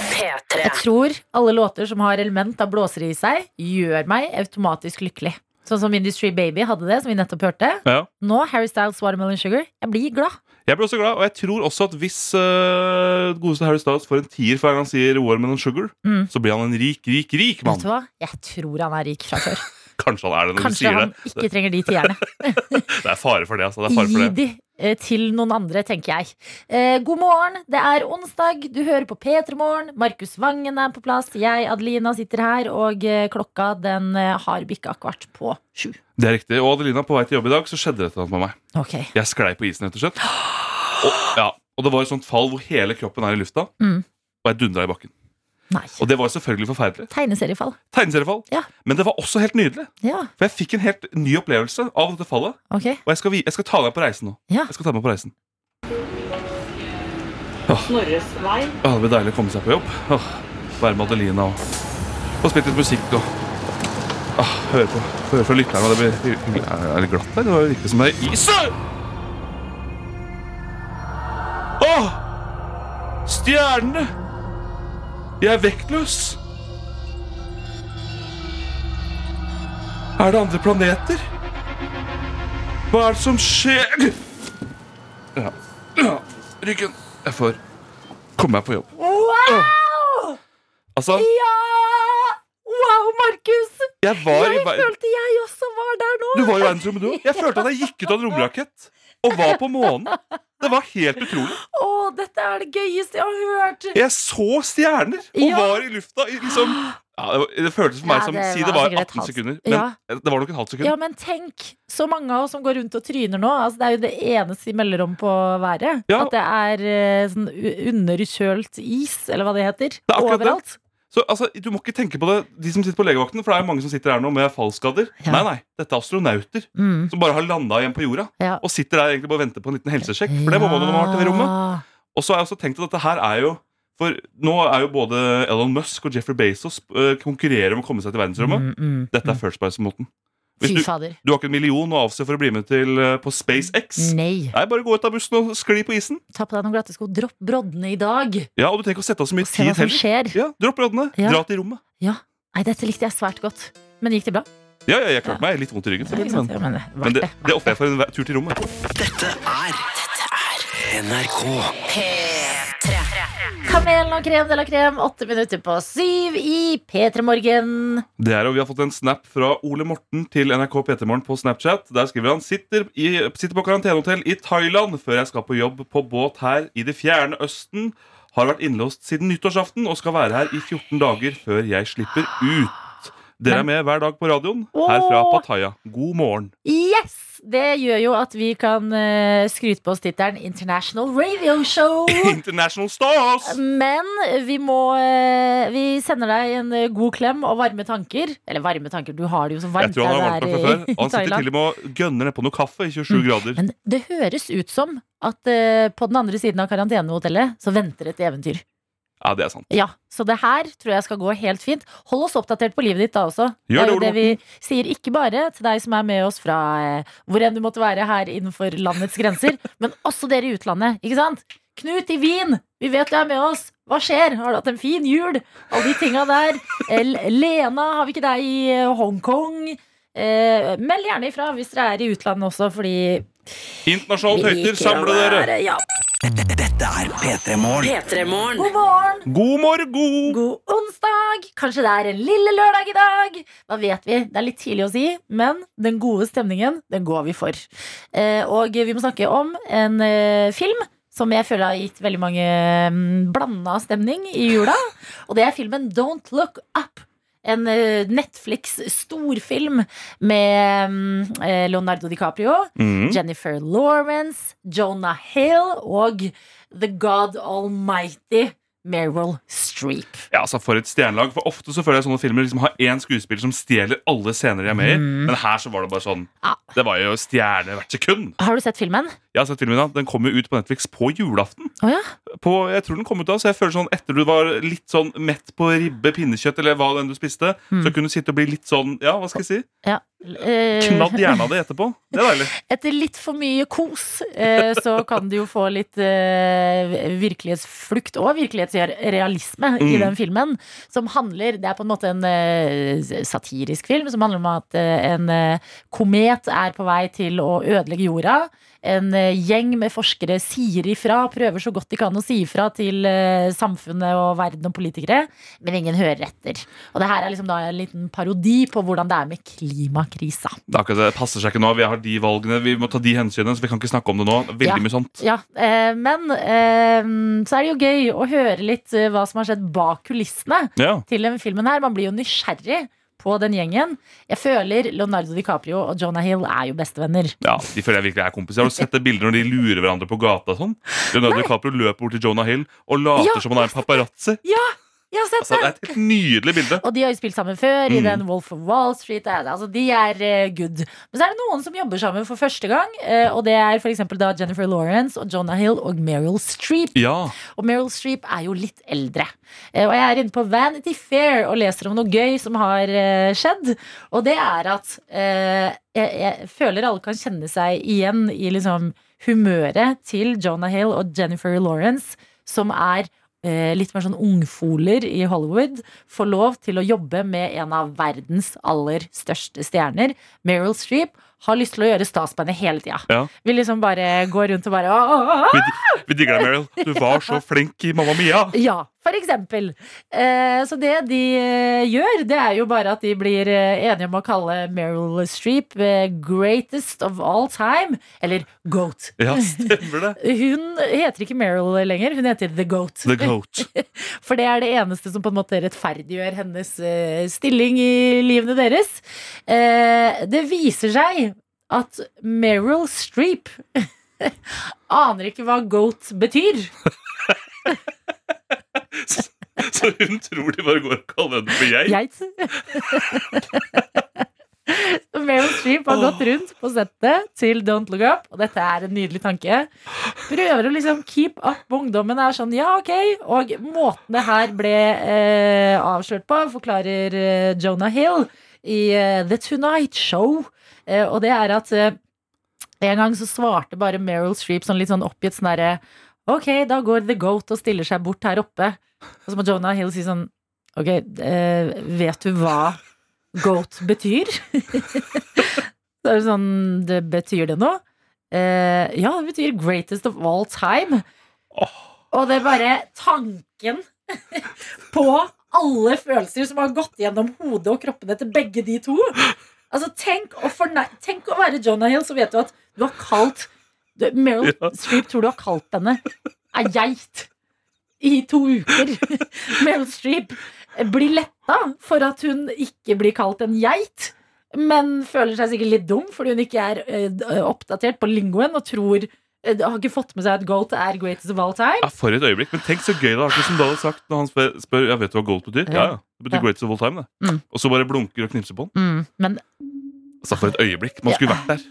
Speaker 2: P3. P3.
Speaker 3: Jeg tror alle låter som har element av blåsere i seg, gjør meg automatisk lykkelig. Sånn som Industry Baby hadde det, som vi nettopp hørte.
Speaker 4: Ja.
Speaker 3: Nå Harry Styles Watermelon Sugar. Jeg blir glad.
Speaker 4: Jeg ble også glad, og jeg tror også at hvis uh, godeste Harry Styles får en tier hver gang han sier Watermelon Sugar,
Speaker 3: Mm.
Speaker 4: så blir han en rik, rik, rik
Speaker 3: Vet
Speaker 4: mann.
Speaker 3: du hva? Jeg tror han er rik fra før.
Speaker 4: Kanskje han er det når du
Speaker 3: Kanskje
Speaker 4: sier
Speaker 3: han
Speaker 4: det.
Speaker 3: ikke trenger de tierne.
Speaker 4: Det er fare for det. altså. Det er fare
Speaker 3: Gi
Speaker 4: for det.
Speaker 3: de eh, til noen andre, tenker jeg. Eh, god morgen, det er onsdag. Du hører på P3morgen. Markus Vangen er på plass. Jeg, Adelina, sitter her, og eh, klokka den eh, har bikka kvart på sju.
Speaker 4: Det er riktig. Og Adelina, på vei til jobb i dag så skjedde det et eller annet med meg.
Speaker 3: Ok.
Speaker 4: Jeg sklei på isen, rett og slett. Og, ja, og det var et sånt fall hvor hele kroppen er i lufta,
Speaker 3: Mm.
Speaker 4: og jeg dundra i bakken.
Speaker 3: Nei.
Speaker 4: Og det var selvfølgelig forferdelig.
Speaker 3: Tegneseriefall.
Speaker 4: Tegneseriefall.
Speaker 3: Ja.
Speaker 4: Men det var også helt nydelig.
Speaker 3: Ja,
Speaker 4: For jeg fikk en helt ny opplevelse av dette fallet.
Speaker 3: ok.
Speaker 4: Og jeg skal, vi- jeg skal ta deg på reisen nå.
Speaker 3: Ja.
Speaker 4: Jeg skal ta meg på reisen. Åh. Åh, det blir deilig å komme seg på jobb. Åh, være med Adelina og få spilt litt musikk og Åh, høre, på, høre fra lytterne. og Det blir hyggelig. Er er det glatt der? Det virker som det er is her! Åh! Stjernene! Jeg er vektløs. Er det andre planeter? Hva er det som skjer? Ja. ja. Ryggen. Jeg får komme meg på jobb.
Speaker 3: Wow!
Speaker 4: Altså,
Speaker 3: Ja! Wow, Markus!
Speaker 4: jeg var i
Speaker 3: Jeg
Speaker 4: ver-
Speaker 3: følte jeg også var der nå.
Speaker 4: Du var i verdensrommet, du òg. Jeg følte at jeg gikk ut av en romrakett og var på månen. Det var helt utrolig.
Speaker 3: Å, dette er det gøyeste jeg har hørt.
Speaker 4: Jeg så stjerner og
Speaker 3: Ja.
Speaker 4: var i lufta i liksom ja, det, var, det føltes for meg
Speaker 3: Ja,
Speaker 4: som
Speaker 3: det var
Speaker 4: Si det var
Speaker 3: sikkert et
Speaker 4: 18
Speaker 3: halvt-
Speaker 4: sekunder. Men
Speaker 3: Ja.
Speaker 4: det var nok et halvt sekund.
Speaker 3: Ja, men tenk så mange av oss som går rundt og tryner nå. Altså, det er jo det eneste de melder om på været.
Speaker 4: Ja.
Speaker 3: At det er eh, sånn u- underkjølt is, eller hva det heter.
Speaker 4: er akkurat det.
Speaker 3: Overalt.
Speaker 4: Så altså, Du må ikke tenke på det, de som sitter på legevakten, for det er jo mange som sitter her nå med fallskader.
Speaker 3: Ja.
Speaker 4: Nei, nei, dette er astronauter
Speaker 3: Mm,
Speaker 4: som bare har landa igjen på jorda.
Speaker 3: ja.
Speaker 4: Og sitter der egentlig bare og venter på en liten helsesjekk. For det må man jo når man har vært i det rommet. Og så har jeg også tenkt at dette her er jo For nå er jo både Elon Musk og Jeffrey Bezos eh, konkurrerer om å komme seg til verdensrommet.
Speaker 3: Mm, mm,
Speaker 4: Dette
Speaker 3: mm.
Speaker 4: er First Price-måten. Hvis
Speaker 3: Fy
Speaker 4: du,
Speaker 3: fader.
Speaker 4: du har ikke en million å avse for å bli med til eh, på SpaceX.
Speaker 3: Nei.
Speaker 4: Nei, bare gå ut av bussen og skli på isen.
Speaker 3: Ta på deg noen glatte sko. Dropp broddene i dag.
Speaker 4: Ja, Og du trenger ikke å sette av så mye
Speaker 3: Se hva
Speaker 4: tid
Speaker 3: som
Speaker 4: heller.
Speaker 3: skjer.
Speaker 4: Ja, Dropp rådene.
Speaker 3: Ja.
Speaker 4: Dra til rommet.
Speaker 3: Nei, dette likte jeg svært godt. Men gikk det bra?
Speaker 4: Ja, ja, jeg klarte meg. Litt vondt i ryggen.
Speaker 3: Ja, ikke
Speaker 4: selvfølgelig,
Speaker 3: sant?
Speaker 4: men-
Speaker 3: Ja, men,
Speaker 4: Men
Speaker 3: verdt
Speaker 4: det,
Speaker 3: det.
Speaker 4: det ofrer jeg for en ve- tur til rommet.
Speaker 1: Dette er NRK.
Speaker 3: Kamelen og krem de la krem, åtte minutter på syv i P3 Morgen.
Speaker 4: Det er, og Vi har fått en snap fra Ole Morten til NRK P3morgen på Snapchat. Der skriver han sitter, i, sitter på karantenehotell i Thailand før jeg skal på jobb på båt her i det fjerne østen. Har vært innlåst siden nyttårsaften og skal være her i 14 dager før jeg slipper ut. Dere er med hver dag på radioen her fra
Speaker 3: Åh.
Speaker 4: Pattaya. God morgen.
Speaker 3: Yes! Det gjør jo at vi kan eh, skryte på oss tittelen International Radio Show.
Speaker 4: International Stars!
Speaker 3: Men vi må eh, Vi sender deg en eh, god klem og varme tanker. Eller varme tanker, du har det jo så
Speaker 4: Jeg
Speaker 3: varmt
Speaker 4: tror han har
Speaker 3: der
Speaker 4: vært
Speaker 3: det
Speaker 4: med
Speaker 3: er
Speaker 4: fra
Speaker 3: i-
Speaker 4: før. Og han
Speaker 3: i
Speaker 4: sitter
Speaker 3: Thailand. Mm.
Speaker 4: til og med og gønner nedpå noe kaffe i 27 grader.
Speaker 3: Men det høres ut som at eh, på den andre siden av karantenehotellet så venter et eventyr.
Speaker 4: Ja, det er sant.
Speaker 3: Ja, Så det her tror jeg skal gå helt fint. Hold oss oppdatert på livet ditt da også.
Speaker 4: Gjør det,
Speaker 3: er jo
Speaker 4: Ole
Speaker 3: det vi sier ikke bare til deg som er med oss fra eh, hvor enn du måtte være her innenfor landets grenser, men også dere i utlandet. Ikke sant? Knut i Wien, vi vet du er med oss. Hva skjer? Har du hatt en fin jul? Alle de tinga der. El Lena, har vi ikke deg i eh, Hongkong? Eh, meld gjerne ifra hvis dere er i utlandet også, fordi
Speaker 4: Internasjonale
Speaker 3: liker
Speaker 4: høyter, samle
Speaker 3: å
Speaker 4: dere!
Speaker 3: være- Ja.
Speaker 1: Dette er P3 Morgen.
Speaker 2: P3 Morgen.
Speaker 3: God morgen!
Speaker 4: God morgen!
Speaker 3: God onsdag! Kanskje det er en lille lørdag i dag? Hva vet vi? Det er litt tidlig å si, men den gode stemningen, den går vi for. Eh, og vi må snakke om en eh, film som jeg føler har gitt veldig mange mm, blanda stemning i jula. Og det er filmen Don't Look Up. En eh, Netflix-storfilm med mm, eh, Leonardo DiCaprio.
Speaker 4: Mm.
Speaker 3: Jennifer Lawrence, Jonah Hill og The God Almighty, Meryl Streep.
Speaker 4: Ja, altså For et stjernelag. For ofte så føler jeg sånne filmer liksom har én skuespiller som stjeler alle scener de er med i. Men her så var det bare sånn.
Speaker 3: Mhm. Ja.
Speaker 4: Det var jo stjerne hvert sekund.
Speaker 3: Har du sett filmen?
Speaker 4: Jeg Jeg har sett filmen, da. Den kom jo ut på Netflix på julaften.
Speaker 3: Å ja.
Speaker 4: På, jeg tror den kom ut da, så jeg føler sånn etter du var litt sånn mett på ribbe, pinnekjøtt eller hva den du spiste, så kunne du sitte og bli litt sånn, ja, hva skal jeg si,
Speaker 3: ja. Mhm. Eh,
Speaker 4: knadd hjernen av det etterpå. Det er deilig.
Speaker 3: Etter litt for mye kos, eh, så kan du jo få litt eh, virkelighetsflukt og virkelighetsrealisme i
Speaker 4: Mm.
Speaker 3: den filmen. Som handler Det er på en måte en eh, satirisk film som handler om at eh, en eh, komet er på vei til å ødelegge jorda. En eh, gjeng med forskere sier ifra, prøver så godt de kan å si ifra til eh, samfunnet og verden og politikere, men ingen hører etter. Og det her er liksom da en liten parodi på hvordan det er med klimakrisa.
Speaker 4: Det, er akkurat det. det passer seg ikke nå. Vi har de valgene, vi må ta de hensynene, så vi kan ikke snakke om det nå. Veldig
Speaker 3: Ja.
Speaker 4: mye sånt.
Speaker 3: Ja, eh, men eh, så er det jo gøy å høre litt eh, hva som har skjedd bak kulissene
Speaker 4: Ja.
Speaker 3: til den filmen her. Man blir jo nysgjerrig på den gjengen. Jeg føler Leonardo DiCaprio og Jonah Hill er jo bestevenner.
Speaker 4: Ja, De føler jeg virkelig er kompiser. Har du sett det bildet når de lurer hverandre på gata? og sånn? Leonardo DiCaprio løper bort til Jonah Hill og later
Speaker 3: Ja,
Speaker 4: som han er en paparazzi.
Speaker 3: Jeg har sett
Speaker 4: Altså, det
Speaker 3: det!
Speaker 4: er et helt nydelig bilde.
Speaker 3: Og de har jo spilt sammen før i
Speaker 4: Mm.
Speaker 3: den Wolf of Wall Street. det er det. Altså, de er eh, good. Men så er det noen som jobber sammen for første gang. eh, og det er for eksempel da Jennifer Lawrence og Jonah Hill og Meryl Streep.
Speaker 4: Ja,
Speaker 3: Og Meryl Streep er jo litt eldre. Eh, Og jeg er inne på Vanity Fair og leser om noe gøy som har eh, skjedd. Og det er at eh, jeg, jeg føler alle kan kjenne seg igjen i liksom humøret til Jonah Hill og Jennifer Lawrence, som er eh, litt mer sånn ungfoler i Hollywood, får lov til å jobbe med en av verdens aller største stjerner, Meryl Streep. Har lyst til å gjøre stas på henne hele tida.
Speaker 4: Ja.
Speaker 3: Vil liksom bare gå rundt og bare «Åh, åh, åh,
Speaker 4: Vi, vi digger deg, Meryl. Du var så flink i Mamma Mia.
Speaker 3: ja, for eksempel. Eh, så det de eh, gjør, det er jo bare at de blir eh, enige om å kalle Meryl Streep eh, greatest of all time, eller goat.
Speaker 4: Ja, stemmer det.
Speaker 3: Hun heter ikke Meryl lenger, hun heter The Goat.
Speaker 4: The Goat.
Speaker 3: For det er det eneste som på en måte rettferdiggjør hennes eh, stilling i livene deres. Eh, det viser seg at Meryl Streep aner ikke hva goat betyr.
Speaker 4: Så hun tror de bare går og kaller henne for jeg.
Speaker 3: Geit. Så Meryl Streep har gått rundt på settet til Don't Look Up, og dette er en nydelig tanke. Prøver å liksom keep up med ungdommen, er sånn ja, ok. Og måten det her ble eh, avslørt på, forklarer eh, Jonah Hill i eh, The Tonight Show, eh, og det er at eh, en gang så svarte bare Meryl Streep sånn litt sånn oppgitt sånn derre Ok, da går The Goat og stiller seg bort her oppe. Og så må Jonah Hill si sånn Ok, eh, vet du hva goat betyr? så er det sånn, det betyr det noe? Eh, ja, det betyr greatest of all time. Og det er bare tanken på alle følelser som har gått gjennom hodet og kroppene til begge de to. Altså, tenk å, forne- tenk å være Jonah Hill, så vet du at du har kalt du- Meryl
Speaker 4: Ja.
Speaker 3: Streep tror du har kalt henne ei geit i to uker. Meryl Streep blir letta for at hun ikke blir kalt en geit. Men føler seg sikkert litt dum fordi hun ikke er eh, d- oppdatert på lingoen og tror eh, har ikke fått med seg at goat er greatest of all time.
Speaker 4: Ja, For et øyeblikk. Men tenk så gøy det er akkurat som du hadde sagt når han spør, spør ja, vet du hva gold betyr. Ja, ja. Det betyr
Speaker 3: Ja.
Speaker 4: greatest of all time, det.
Speaker 3: Mm.
Speaker 4: Og så bare blunker og knipser på han.
Speaker 3: men
Speaker 4: Altså, for et øyeblikk. Man skulle vært der.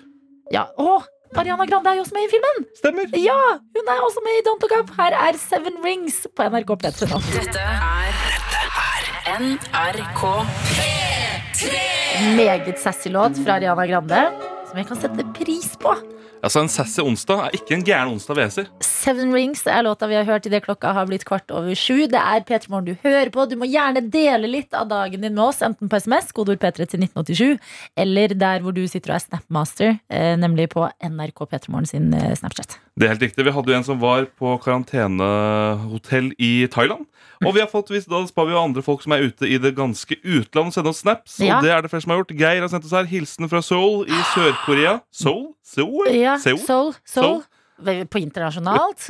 Speaker 3: ja, å, Ariana Grande er jo også med i filmen!
Speaker 4: Stemmer.
Speaker 3: Ja, Hun er også med i Don't Look Up. Her er Seven Rings på NRK P3 nå.
Speaker 2: Dette er dette er NRK.
Speaker 3: Meget sassy låt fra Ariana Grande som jeg kan sette pris på.
Speaker 4: Altså, En sassy onsdag er ikke en gæren onsdag ved heser.
Speaker 3: Seven Rings er låta vi har hørt idet klokka har blitt kvart over sju. Det er P3 Morgen du hører på. Du må gjerne dele litt av dagen din med oss, enten på SMS, kodeord P3 til 1987, eller der hvor du sitter og er Snapmaster, eh, nemlig på NRK P3 Morgen sin eh, Snapchat.
Speaker 4: Det er helt riktig. Vi hadde jo en som var på karantenehotell i Thailand. Og vi har fått, hvis da spar vi jo andre folk som er ute i det ganske utland, og sende oss snaps.
Speaker 3: Ja.
Speaker 4: Og det er det flere som har gjort. Geir har sendt oss her hilsen fra Seoul i Sør-Korea. Seoul? Seoul?
Speaker 3: Ja,
Speaker 4: Seoul?
Speaker 3: Soul, Soul.
Speaker 4: Soul.
Speaker 3: På internasjonalt.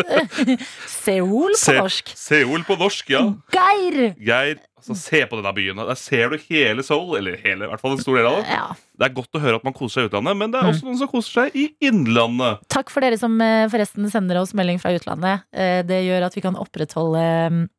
Speaker 3: Seoul på
Speaker 4: Se-
Speaker 3: norsk.
Speaker 4: Seoul på norsk, ja.
Speaker 3: Geir!
Speaker 4: Geir, altså, se på denne byen. Der ser du hele Seoul. Eller hele, i hvert fall en stor del av det.
Speaker 3: Ja.
Speaker 4: Det er godt å høre at man koser seg i utlandet, men det er også
Speaker 3: Mm.
Speaker 4: noen som koser seg i innlandet.
Speaker 3: Takk for dere som eh, forresten sender oss melding fra utlandet. Eh, Det gjør at vi kan opprettholde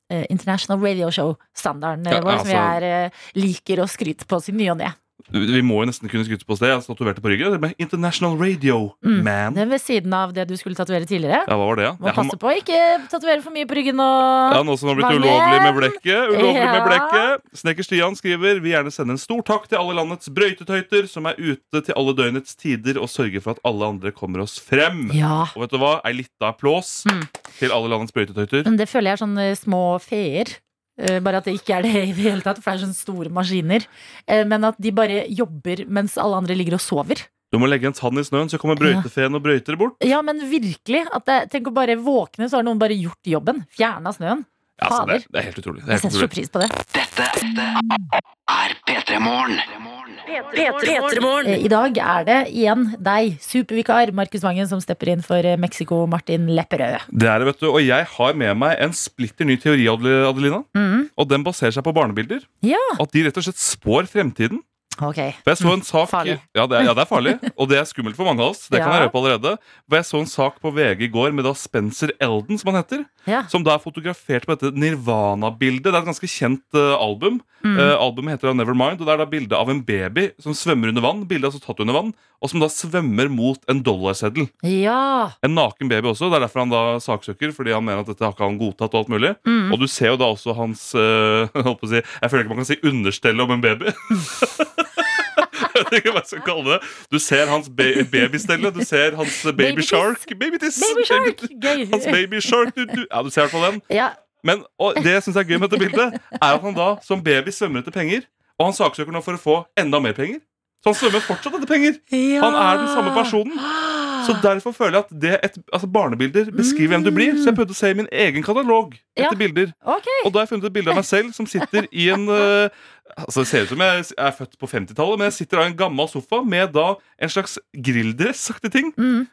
Speaker 3: eh, International Radio Show-standarden eh,
Speaker 4: Ja,
Speaker 3: vår, som vi
Speaker 4: altså-
Speaker 3: er, eh, liker å skryte på oss i ny og ne.
Speaker 4: Vi må jo nesten kunne skryte på oss det. Jeg tatoverte på ryggen. Det ble International Radio Man.
Speaker 3: Det er ved siden av det du skulle tatovere tidligere.
Speaker 4: Ja, hva var det, ja?
Speaker 3: Må
Speaker 4: Jeg har
Speaker 3: passe på å ikke tatovere for mye på ryggen og
Speaker 4: Ja, Noe som har blitt
Speaker 3: Magen.
Speaker 4: ulovlig med blekket. Ulovlig
Speaker 3: Ja.
Speaker 4: med blekket Snekker Stian skriver vil gjerne sende en stor takk til alle landets brøytetøyter som er ute til alle døgnets tider og sørger for at alle andre kommer oss frem.
Speaker 3: Ja.
Speaker 4: Og vet du hva? Ei lita applaus
Speaker 3: Mm.
Speaker 4: til alle landets brøytetøyter.
Speaker 3: Men det føler jeg er sånne eh, små feer. Eh, Bare at det ikke er det i det hele tatt, for det er sånne store maskiner. Eh, Men at de bare jobber mens alle andre ligger og sover.
Speaker 4: Du må legge en tann i snøen, så kommer brøytefeen og brøyter bort.
Speaker 3: Ja, men virkelig. At det, tenk å bare våkne, så har noen bare gjort jobben. Fjerna snøen.
Speaker 4: Ja, altså, det,
Speaker 3: Fader.
Speaker 4: det er helt utrolig. Det
Speaker 3: Jeg
Speaker 4: er helt
Speaker 3: setter så
Speaker 4: utrolig.
Speaker 3: pris på det.
Speaker 1: er P3 Morgen.
Speaker 2: P3morgen.
Speaker 3: Eh, I dag er det igjen deg, supervikar Markus Vangen, som stepper inn for eh, Mexico Martin Lepperød.
Speaker 4: Det er det, vet du. Og jeg har med meg en splitter ny teori, Adel- Adelina.
Speaker 3: Mhm.
Speaker 4: Og den baserer seg på barnebilder.
Speaker 3: Ja.
Speaker 4: At de rett og slett spår fremtiden.
Speaker 3: Ok.
Speaker 4: For jeg så en sak
Speaker 3: farlig.
Speaker 4: Ja det, er, ja, det er farlig. Og det er skummelt for mange av oss. Det kan
Speaker 3: Ja.
Speaker 4: jeg røpe allerede. For jeg så en sak på VG i går med da Spencer Elden, som han heter.
Speaker 3: Ja.
Speaker 4: Som da er fotografert på dette Nirvana-bildet. Det er et ganske kjent eh, album.
Speaker 3: Mm.
Speaker 4: Eh, albumet heter da Nevermind, og det er da bilde av en baby som svømmer under vann. Bildet er altså tatt under vann, og som da svømmer mot en dollarseddel.
Speaker 3: Ja.
Speaker 4: En naken baby også. Det er derfor han da saksøker. Fordi han mener at dette har ikke han godtatt Og alt mulig
Speaker 3: Mm.
Speaker 4: Og du ser jo da også hans øh, holdt på å si, Jeg føler ikke man kan si understelle om en baby. Jeg vet ikke hva jeg skal kalle det Du ser hans ba babystelle. Du ser hans øh, baby
Speaker 3: Babytiss.
Speaker 4: shark. Babytiss!
Speaker 3: Baby Shark!
Speaker 4: Baby-
Speaker 3: Gøy.
Speaker 4: Hans baby shark du, du. Ja, du ser i hvert fall den.
Speaker 3: Ja.
Speaker 4: Men og det jeg syns er gøy med dette bildet, er at han da som baby svømmer etter penger. Og han saksøker nå for å få enda mer penger. Så han svømmer fortsatt etter penger. Han er den samme personen. Så
Speaker 3: Ah.
Speaker 4: derfor føler jeg at det et, altså barnebilder beskriver hvem du blir. Så jeg prøvde å se i min egen katalog
Speaker 3: Mm.
Speaker 4: etter
Speaker 3: Ja.
Speaker 4: bilder.
Speaker 3: Ok.
Speaker 4: Og da har jeg funnet et bilde av meg selv som sitter i en eh, Altså Det ser ut som jeg er født på 50-tallet, men jeg sitter da i en gammel sofa med da en slags grilldress-aktig ting.
Speaker 3: Mm.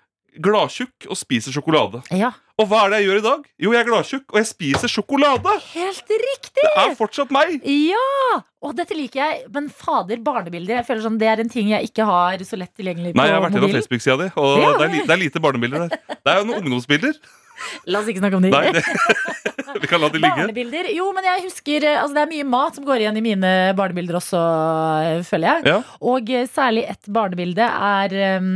Speaker 4: Gladtjukk og spiser sjokolade.
Speaker 3: Ja.
Speaker 4: Og hva er det jeg gjør i dag? Jo, jeg er gladtjukk, og jeg spiser sjokolade!
Speaker 3: Helt riktig!
Speaker 4: Det er fortsatt meg!
Speaker 3: Ja! Og dette liker jeg. Men fader, barnebilder. Jeg føler sånn, Det er en ting jeg ikke har så lett tilgjengelig på
Speaker 4: Nei, jeg har vært innom
Speaker 3: mobilen.
Speaker 4: Facebook-sida di, og
Speaker 3: Ja.
Speaker 4: det, er lite, det er lite barnebilder der. Det er jo noen ungdomsbilder.
Speaker 3: La oss ikke snakke om det.
Speaker 4: Nei, det, vi kan la de ligge.
Speaker 3: Barnebilder. Jo, men jeg husker eh, altså Det er mye mat som går igjen i mine barnebilder også, eh, føler jeg.
Speaker 4: Ja.
Speaker 3: Og eh, særlig ett barnebilde er eh,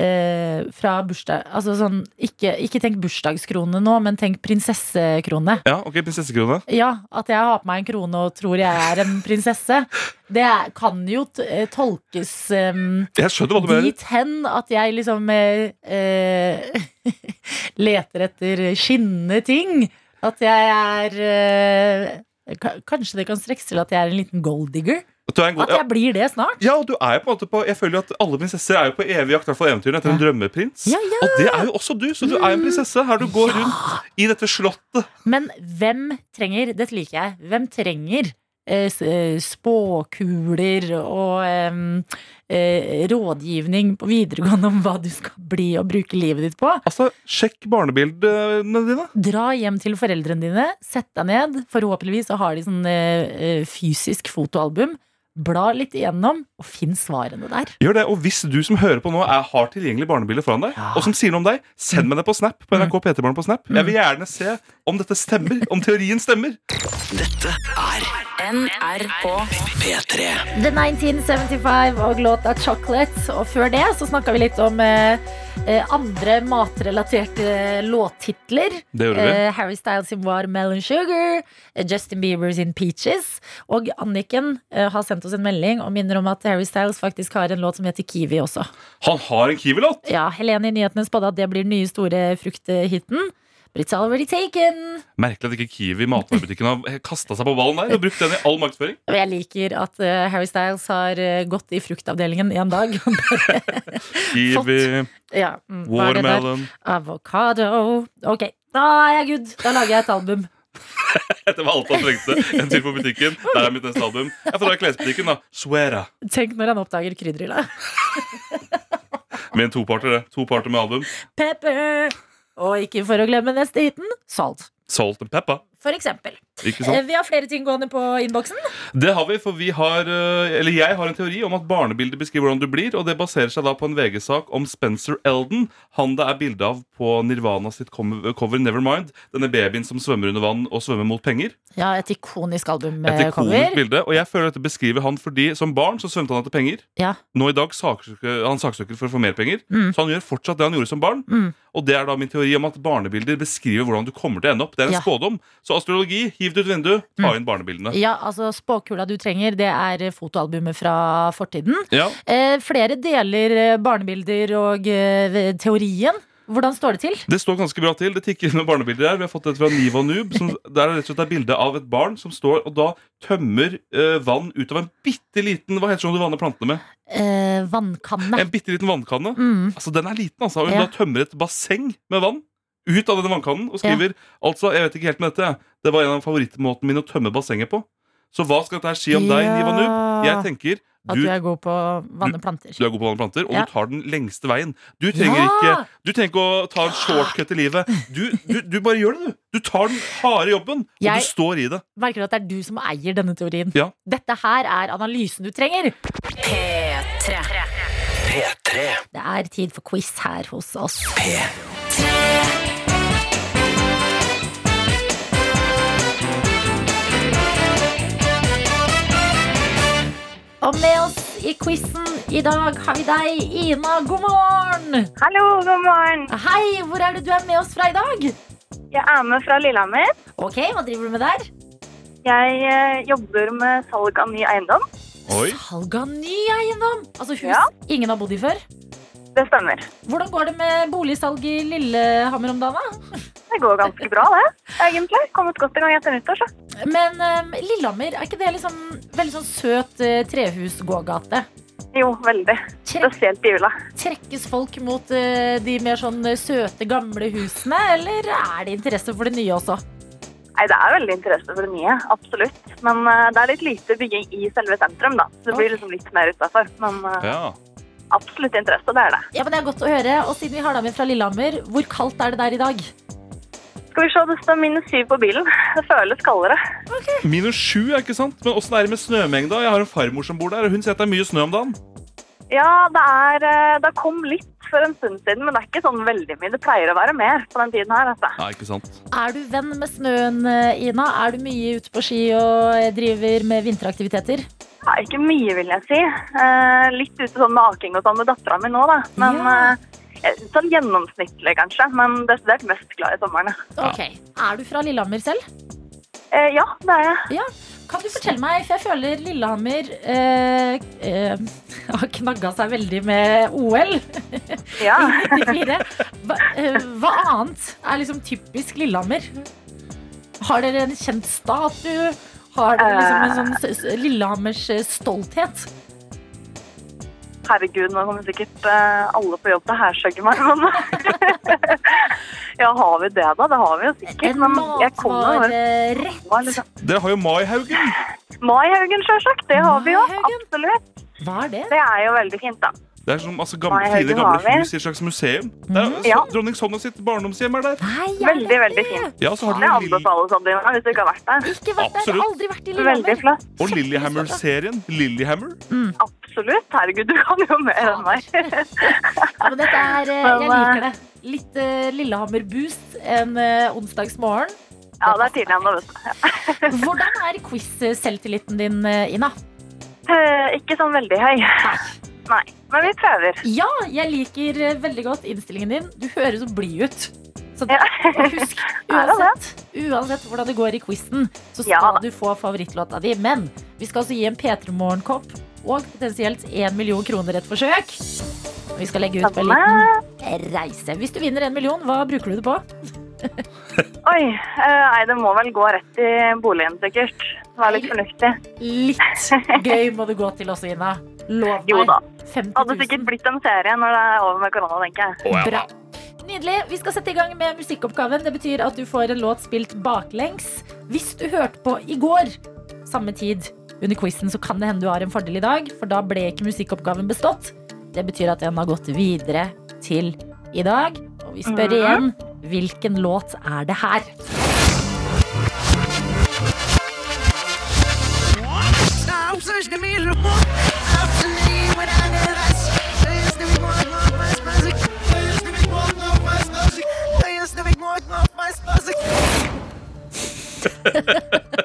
Speaker 3: eh, fra bursdag Altså sånn ikke, ikke tenk bursdagskrone nå, men tenk prinsessekrone.
Speaker 4: ja, ok, prinsessekrone.
Speaker 3: Ja, at jeg har på meg en krone og tror jeg er en prinsesse. Det er- kan jo t eh, tolkes eh,
Speaker 4: Jeg skjønner hva du mener.
Speaker 3: Dit hen at jeg liksom eh, eh, leter etter skinnende ting. At jeg er eh, ka- Kanskje det kan strekkes til at jeg er en liten golddigger?
Speaker 4: At du er en god,
Speaker 3: At jeg blir det snart?
Speaker 4: ja, og du er jo på en måte på Jeg føler jo at alle prinsesser er jo på evig jakt, i hvert fall eventyrene, etter en drømmeprins.
Speaker 3: Ja, Mm. ja.
Speaker 4: Og det er jo også du, så du er en prinsesse her du går rundt i dette slottet.
Speaker 3: Men hvem trenger Dette liker jeg. Hvem trenger eh, s- eh, spåkuler og em, eh, rådgivning på videregående om hva du skal bli og bruke livet ditt på?
Speaker 4: Altså, sjekk barnebildene dine.
Speaker 3: Dra hjem til foreldrene dine, sett deg ned. Forhåpentligvis så har de sånn eh, eh, fysisk fotoalbum. Bla litt igjennom, og finn svarene der.
Speaker 4: Gjør det, Og hvis du som hører på nå er, har tilgjengelig barnebilde foran deg,
Speaker 3: Ja. Mm.
Speaker 4: og som sier noe om deg, send meg det på Snap. på NRK P3barn på Snap. Jeg vil gjerne se om dette stemmer. Om teorien stemmer.
Speaker 1: Dette er
Speaker 2: NRK
Speaker 1: P3.
Speaker 3: The 1975 og låta 'Chocolate'. Og før det så snakka vi litt om eh, eh, andre matrelaterte eh, låttitler.
Speaker 4: Det gjorde vi.
Speaker 3: Eh, Harry Styles sin var Melon Sugar, eh, Justin Bieber sin Peaches. Og Anniken eh, har sendt oss en melding og minner om at Harry Styles faktisk har en låt som heter Kiwi også.
Speaker 4: Han har en Kiwi-låt!
Speaker 3: Ja, Helene i nyhetene spådde at det blir den nye store frukthiten. But it's already taken.
Speaker 4: Merkelig at ikke Kiwi matvarebutikken har kasta seg på ballen der og brukt den i all markedsføring.
Speaker 3: Og jeg liker at eh, Harry Styles har eh, gått i fruktavdelingen en dag.
Speaker 4: Kiwi,
Speaker 3: ja, mm, hva er det der?
Speaker 4: watermelon
Speaker 3: Avocado. Ok, da er jeg good. Da lager jeg et album.
Speaker 4: Det var alt han trengte. En tur på butikken. Der er mitt neste album. Jeg får dra i klesbutikken, da. Suera.
Speaker 3: Tenk når han oppdager krydderhylla.
Speaker 4: Med en toparter, det. Toparter med album.
Speaker 3: Pepper. Og ikke for å glemme neste hiten, salt.
Speaker 4: Salt and pepper.
Speaker 6: for eksempel.
Speaker 4: Ikke
Speaker 6: Eh,
Speaker 4: sant?
Speaker 6: Vi har flere ting gående på innboksen.
Speaker 4: Det har vi, for vi har eh, Eller jeg har en teori om at barnebilder beskriver hvordan du blir, og det baserer seg da på en VG-sak om Spencer Elden. Han det er bilde av på Nirvana sitt com- cover Nevermind. Denne babyen som svømmer under vann og svømmer mot penger.
Speaker 3: Ja, et ikonisk eh,
Speaker 4: Et ikonisk
Speaker 3: albumcover.
Speaker 4: bilde. Og jeg føler dette beskriver han fordi som barn så svømte han etter penger.
Speaker 3: Ja.
Speaker 4: Nå i dag saksøker han saksøker for å få mer penger,
Speaker 3: Mm.
Speaker 4: så han gjør fortsatt det han gjorde som barn.
Speaker 3: Mm.
Speaker 4: Og det er da min teori om at barnebilder beskriver hvordan du kommer til å ende opp. Det er en
Speaker 3: Ja. Mm.
Speaker 4: spådom. Så astrologi, hiv det ut vinduet, ta inn barnebildene.
Speaker 3: Ja, altså Spåkula du trenger, det er eh, fotoalbumet fra fortiden.
Speaker 4: Ja.
Speaker 3: Eh, flere deler eh, barnebilder og eh, teorien. Hvordan står det til?
Speaker 4: Det står ganske bra til. Det tikker inn noen barnebilder her. Vi har fått et fra Niva Noob. Som, der er rett og slett et bilde av et barn som står og da tømmer eh, vann ut av en bitte liten Hva heter det som du vanner plantene med?
Speaker 3: Eh, vannkanne.
Speaker 4: En bitte liten vannkanne.
Speaker 3: Mm.
Speaker 4: Altså, Den er liten, altså. Og hun
Speaker 3: Ja.
Speaker 4: da tømmer et basseng med vann ut av denne vannkannen og skriver Altså, jeg vet ikke helt med dette, jeg. det var en av favorittmåtene mine å tømme bassenget på. Så hva skal dette her si om deg,
Speaker 3: Ja.
Speaker 4: Niva Noob? Jeg tenker
Speaker 3: At
Speaker 4: du,
Speaker 3: du er god på å vanne planter.
Speaker 4: du er god på å vanne planter, og
Speaker 3: Ja.
Speaker 4: du tar den lengste veien. Du trenger ikke
Speaker 3: Ja!
Speaker 4: Du trenger ikke å ta en shortcut i livet. Du, du, du bare gjør det, du. Du tar den harde jobben, og
Speaker 3: Jeg-
Speaker 4: du står i det.
Speaker 3: Merker du at det er du som eier denne teorien?
Speaker 4: Ja.
Speaker 3: Dette her er analysen du trenger.
Speaker 2: P3.
Speaker 1: P3.
Speaker 3: Det er tid for quiz her hos oss. Og med oss i quizen i dag har vi deg, Ina. God morgen!
Speaker 7: Hallo, god morgen.
Speaker 3: Hei, hvor er det du er med oss fra i dag?
Speaker 7: Jeg er med fra Lillehammer.
Speaker 3: Ok, hva driver du med der?
Speaker 7: Jeg eh, jobber med salg av ny eiendom.
Speaker 4: Oi.
Speaker 3: Salg av ny eiendom! Altså hus
Speaker 7: Ja.
Speaker 3: ingen har bodd i før.
Speaker 7: Det stemmer.
Speaker 3: Hvordan går det med boligsalg i Lillehammer om dagen? da?
Speaker 7: Det går ganske bra, det. Egentlig. Kommet godt i gang etter nyttår, så.
Speaker 3: Men eh, Lillehammer, er ikke det liksom veldig sånn søt eh, trehusgågate?
Speaker 7: Jo, veldig.
Speaker 3: Trek,
Speaker 7: Spesielt i jula.
Speaker 3: trekkes folk mot eh, de mer sånn eh, søte, gamle husene, eller er det interesse for det nye også?
Speaker 7: Nei, det er veldig interesse for det nye. Absolutt. Men eh, det er litt lite bygging i selve sentrum, da. Så det blir liksom litt mer utafor. Men eh,
Speaker 4: Ja.
Speaker 7: absolutt interesse, det er det.
Speaker 3: Ja, men Det er godt å høre. Og siden vi har deg med fra Lillehammer, hvor kaldt er det der i dag?
Speaker 7: Skal vi se, det står minus syv på bilen. Det føles kaldere.
Speaker 4: Minus sju, er ikke sant? Men åssen er det med snømengda? Jeg har en farmor som bor der, og hun sier at det er mye snø om dagen.
Speaker 7: Ja, det er eh, Det kom litt for en stund siden, men det er ikke sånn veldig mye. Det pleier å være mer på den tiden her, altså.
Speaker 4: Nei, ikke sant.
Speaker 3: Er du venn med snøen, eh, Ina? Er du mye ute på ski og eh, driver med vinteraktiviteter?
Speaker 7: Ja, ikke mye, vil jeg si. Eh, litt ute sånn med aking og sånn med dattera mi nå, da. Men
Speaker 3: Ja.
Speaker 7: eh, sånn gjennomsnittlig, kanskje. Men desidert mest glad i sommeren. ja.
Speaker 3: Ok. Er du fra Lillehammer selv?
Speaker 7: Eh, ja, det er jeg.
Speaker 3: Kan du fortelle meg, for jeg føler Lillehammer eh, eh, har knagga seg veldig med OL i
Speaker 7: Ja.
Speaker 3: 94. Hva, eh, hva annet er liksom typisk Lillehammer? Har dere en kjent statue? Har dere liksom en sånn s- s- Lillehammers eh, stolthet?
Speaker 7: Herregud, nå kommer sikkert eh, alle på jobb til å hærsøke meg, men Ja, har vi det, da? Det har vi jo sikkert.
Speaker 3: En
Speaker 7: Men jeg kommer
Speaker 3: matvarerett?
Speaker 7: Hva er liksom-
Speaker 4: Dere har jo Maihaugen.
Speaker 7: Maihaugen, sjølsagt. Det har vi jo.
Speaker 3: Maihaugen?
Speaker 7: Absolutt.
Speaker 3: Hva er det?
Speaker 7: Det er jo veldig fint, da.
Speaker 4: Det er som altså, gamle,
Speaker 7: Maihaugen
Speaker 4: fine
Speaker 7: har vi.
Speaker 4: gamle hus i et slags museum. Der, er- altså,
Speaker 7: Ja.
Speaker 4: Dronning Sonja sitt barndomshjem er der.
Speaker 3: Nei, jeg
Speaker 7: Veldig, veldig fint.
Speaker 4: Ja, så har
Speaker 7: Det
Speaker 4: dere Lill-
Speaker 7: anbefales, Adelina, hvis du ikke har vært der.
Speaker 3: har ikke vært der.
Speaker 4: Absolutt.
Speaker 3: Aldri vært i
Speaker 7: Veldig
Speaker 3: Lillehammer.
Speaker 7: flott.
Speaker 4: og Lillehammer-serien. Lillehammer.
Speaker 7: Absolutt. Herregud, du kan jo mer enn meg.
Speaker 3: Ja, men dette er, eh, jeg
Speaker 7: Men, eh,
Speaker 3: liker det. Litt eh, Lillehammer-boost en eh, onsdagsmorgen.
Speaker 7: Ja, det er tidlig ennå, vet du.
Speaker 3: Hvordan er quiz-selvtilliten din, eh, Ina?
Speaker 7: Eh, ikke sånn veldig høy. Nei. Men vi prøver.
Speaker 3: Ja, jeg liker eh, veldig godt innstillingen din. Du høres så blid ut. Så det,
Speaker 7: Ja.
Speaker 3: og husk,
Speaker 7: Er det
Speaker 3: uansett, uansett hvordan det går i quizen, så skal
Speaker 7: Ja da.
Speaker 3: du få favorittlåta di. Men vi skal også gi en P3 Morgen-kopp og potensielt 1 million kroner et forsøk. Vi skal legge ut på en
Speaker 7: Spennende.
Speaker 3: liten reise. Hvis du vinner 1 million, hva bruker du det på?
Speaker 7: Oi. eh, nei, det må vel gå rett i boligen, sikkert. Være litt fornuftig.
Speaker 3: Litt gøy må det gå til også, Ina. Lov meg.
Speaker 7: Jo da.
Speaker 3: 50
Speaker 7: Hadde
Speaker 3: 000.
Speaker 7: sikkert blitt en serie når det er over med korona, tenker jeg.
Speaker 3: Bra. Nydelig. Vi skal sette i gang med musikkoppgaven. Det betyr at du får en låt spilt baklengs. Hvis du hørte på i går, samme tid under quizen, så kan det hende du har en fordel i dag, for da ble ikke musikkoppgaven bestått. Det betyr at den har gått videre til i dag. Og vi spør igjen hvilken låt er det her?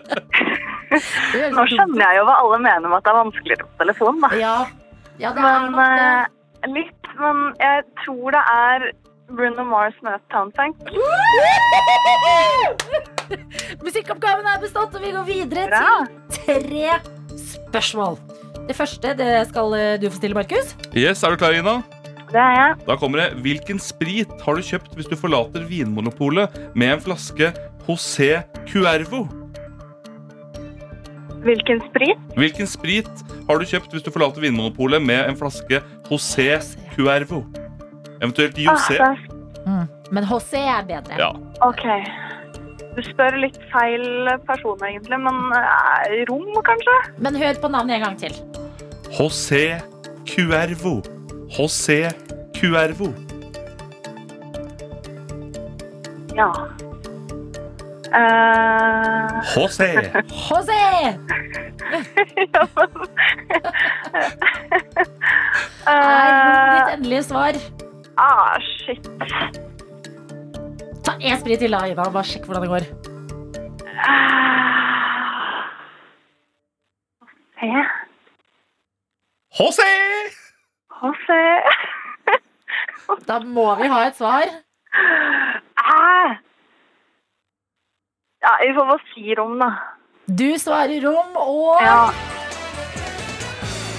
Speaker 3: Det høres
Speaker 7: Nå
Speaker 3: dumt ut.
Speaker 7: skjønner jeg jo hva alle mener med at det er vanskeligere på telefon, da.
Speaker 3: Ja. ja, det er
Speaker 7: Men
Speaker 3: nok det.
Speaker 7: eh, litt. Men jeg tror det er Bruno Mars med Towntank.
Speaker 3: Musikkoppgaven er bestått, og vi går videre
Speaker 7: Bra.
Speaker 3: til tre spørsmål. Det første det skal eh, du få stille, Markus.
Speaker 4: Yes, Er du klar, Ina?
Speaker 7: Det er jeg.
Speaker 4: Da kommer det. Hvilken sprit har du kjøpt hvis du forlater Vinmonopolet med en flaske José Cuervo?
Speaker 7: Hvilken sprit?
Speaker 4: Hvilken sprit har du kjøpt hvis du forlater Vinmonopolet med en flaske José Cuervo? Eventuelt
Speaker 7: Ah,
Speaker 4: José.
Speaker 7: det er-
Speaker 3: Men HC er bedre.
Speaker 4: Ja.
Speaker 7: ok. Du spør litt feil person, egentlig. Men eh, rom, kanskje?
Speaker 3: Men hør på navnet en gang til.
Speaker 4: José Cuervo. José Cuervo.
Speaker 7: Ja. Eh,
Speaker 4: José.
Speaker 3: HC! er
Speaker 7: eh,
Speaker 3: ditt endelige svar.
Speaker 7: ah, shit.
Speaker 3: Ta én sprit til, da, Ida. Bare sjekk hvordan det går.
Speaker 7: Ah. Se.
Speaker 4: José!
Speaker 7: Å, se.
Speaker 3: Da må vi ha et svar.
Speaker 7: Ah. Ja, vi får bare si rom, da.
Speaker 3: Du svarer rom, og
Speaker 7: Ja.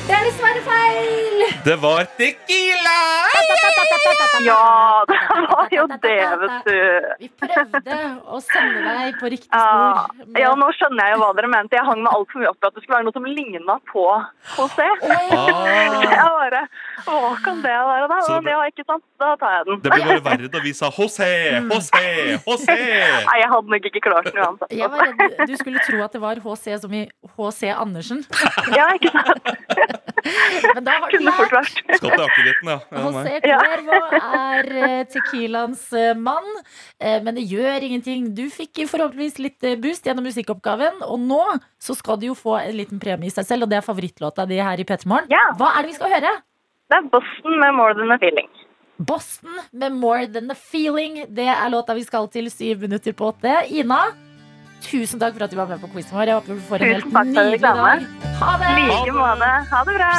Speaker 3: det er dessverre feil!
Speaker 4: Det var Tequila!
Speaker 7: Ja, det var jo det, vet du.
Speaker 3: Vi prøvde å sende deg på riktig
Speaker 7: Ja.
Speaker 3: spor. men-
Speaker 7: Ah, ja, nå skjønner jeg jo hva dere mente. Jeg hang meg altfor mye opp i at det skulle være noe som ligna på HC.
Speaker 3: Oi,
Speaker 7: Jeg
Speaker 4: Ah.
Speaker 7: bare Hva kan det være, da?
Speaker 4: Så det
Speaker 7: Men
Speaker 4: ble-
Speaker 7: ja, ikke sant? Da tar jeg
Speaker 4: Det
Speaker 7: den.
Speaker 4: ble bare verre da vi sa José, José, José.
Speaker 7: Nei, jeg hadde nok ikke klart den uansett.
Speaker 3: Jeg var redd du skulle tro at det var HC som i HC Andersen.
Speaker 7: Ja, ikke sant?
Speaker 3: Men da har du
Speaker 7: Kunne fort
Speaker 3: lært.
Speaker 7: vært.
Speaker 4: Skal til akevitten, ja. ja nei.
Speaker 3: HC
Speaker 7: Ja.
Speaker 3: Cuervo er eh, Tequilaens eh, mann, eh, men det gjør ingenting. Du fikk forhåpentligvis litt eh, boost gjennom musikkoppgaven, og nå så skal du jo få en liten premie i seg selv, og det er favorittlåta di her i P3 Morgen.
Speaker 7: Ja.
Speaker 3: Hva er det vi skal høre?
Speaker 7: Det er Boston med More Than A Feeling.
Speaker 3: Boston med More Than A Feeling. Det er låta vi skal til syv minutter på åtte. Ina, tusen takk for at du var med på quizen vår. Jeg håper du får en
Speaker 7: Tusen
Speaker 3: helt
Speaker 7: takk for
Speaker 3: nydelig
Speaker 7: reklamen.
Speaker 3: dag. Ha det!
Speaker 7: I like måte. Ha det bra.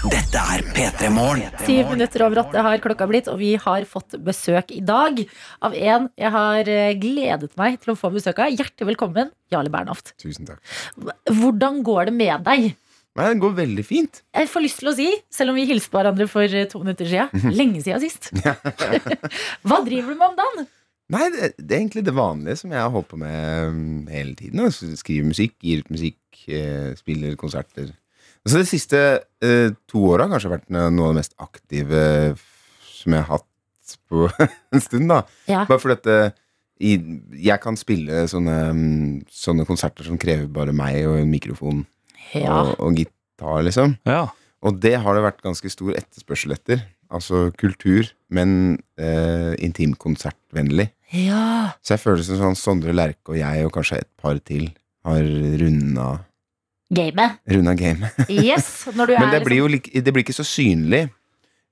Speaker 1: Dette er P3 Morgen.
Speaker 3: Syv minutter over åtte har klokka blitt, og vi har fått besøk i dag av en jeg har eh, gledet meg til å få besøk av. Hjertelig velkommen, Jarle Bernhoft.
Speaker 8: Tusen takk.
Speaker 3: Hvordan går det med deg?
Speaker 8: Nei, det går veldig fint.
Speaker 3: Jeg får lyst til å si, selv om vi hilste på hverandre for eh, to minutter siden, lenge siden sist. Hva driver du med om dagen?
Speaker 8: Nei, det, det er egentlig det vanlige som jeg har holdt på med um, hele tiden. Altså, skriver musikk, gir ut musikk, eh, spiller konserter. Så de siste eh, to åra har kanskje vært no- noe av det mest aktive f- som jeg har hatt på en stund, da.
Speaker 3: Ja.
Speaker 8: Bare fordi at eh, i, jeg kan spille sånne, mm, sånne konserter som krever bare meg og en mikrofon
Speaker 3: Ja.
Speaker 8: og, og gitar, liksom.
Speaker 4: Ja.
Speaker 8: Og det har det vært ganske stor etterspørsel etter. Altså kultur, men eh, intimkonsertvennlig.
Speaker 3: ja.
Speaker 8: Så jeg føler det som sånn Sondre Lerche og jeg, og kanskje et par til, har runda,
Speaker 3: Gamet.
Speaker 8: runda gamet.
Speaker 3: Yes. Når du
Speaker 8: Men det
Speaker 3: er
Speaker 8: blir jo lik- det blir ikke så synlig.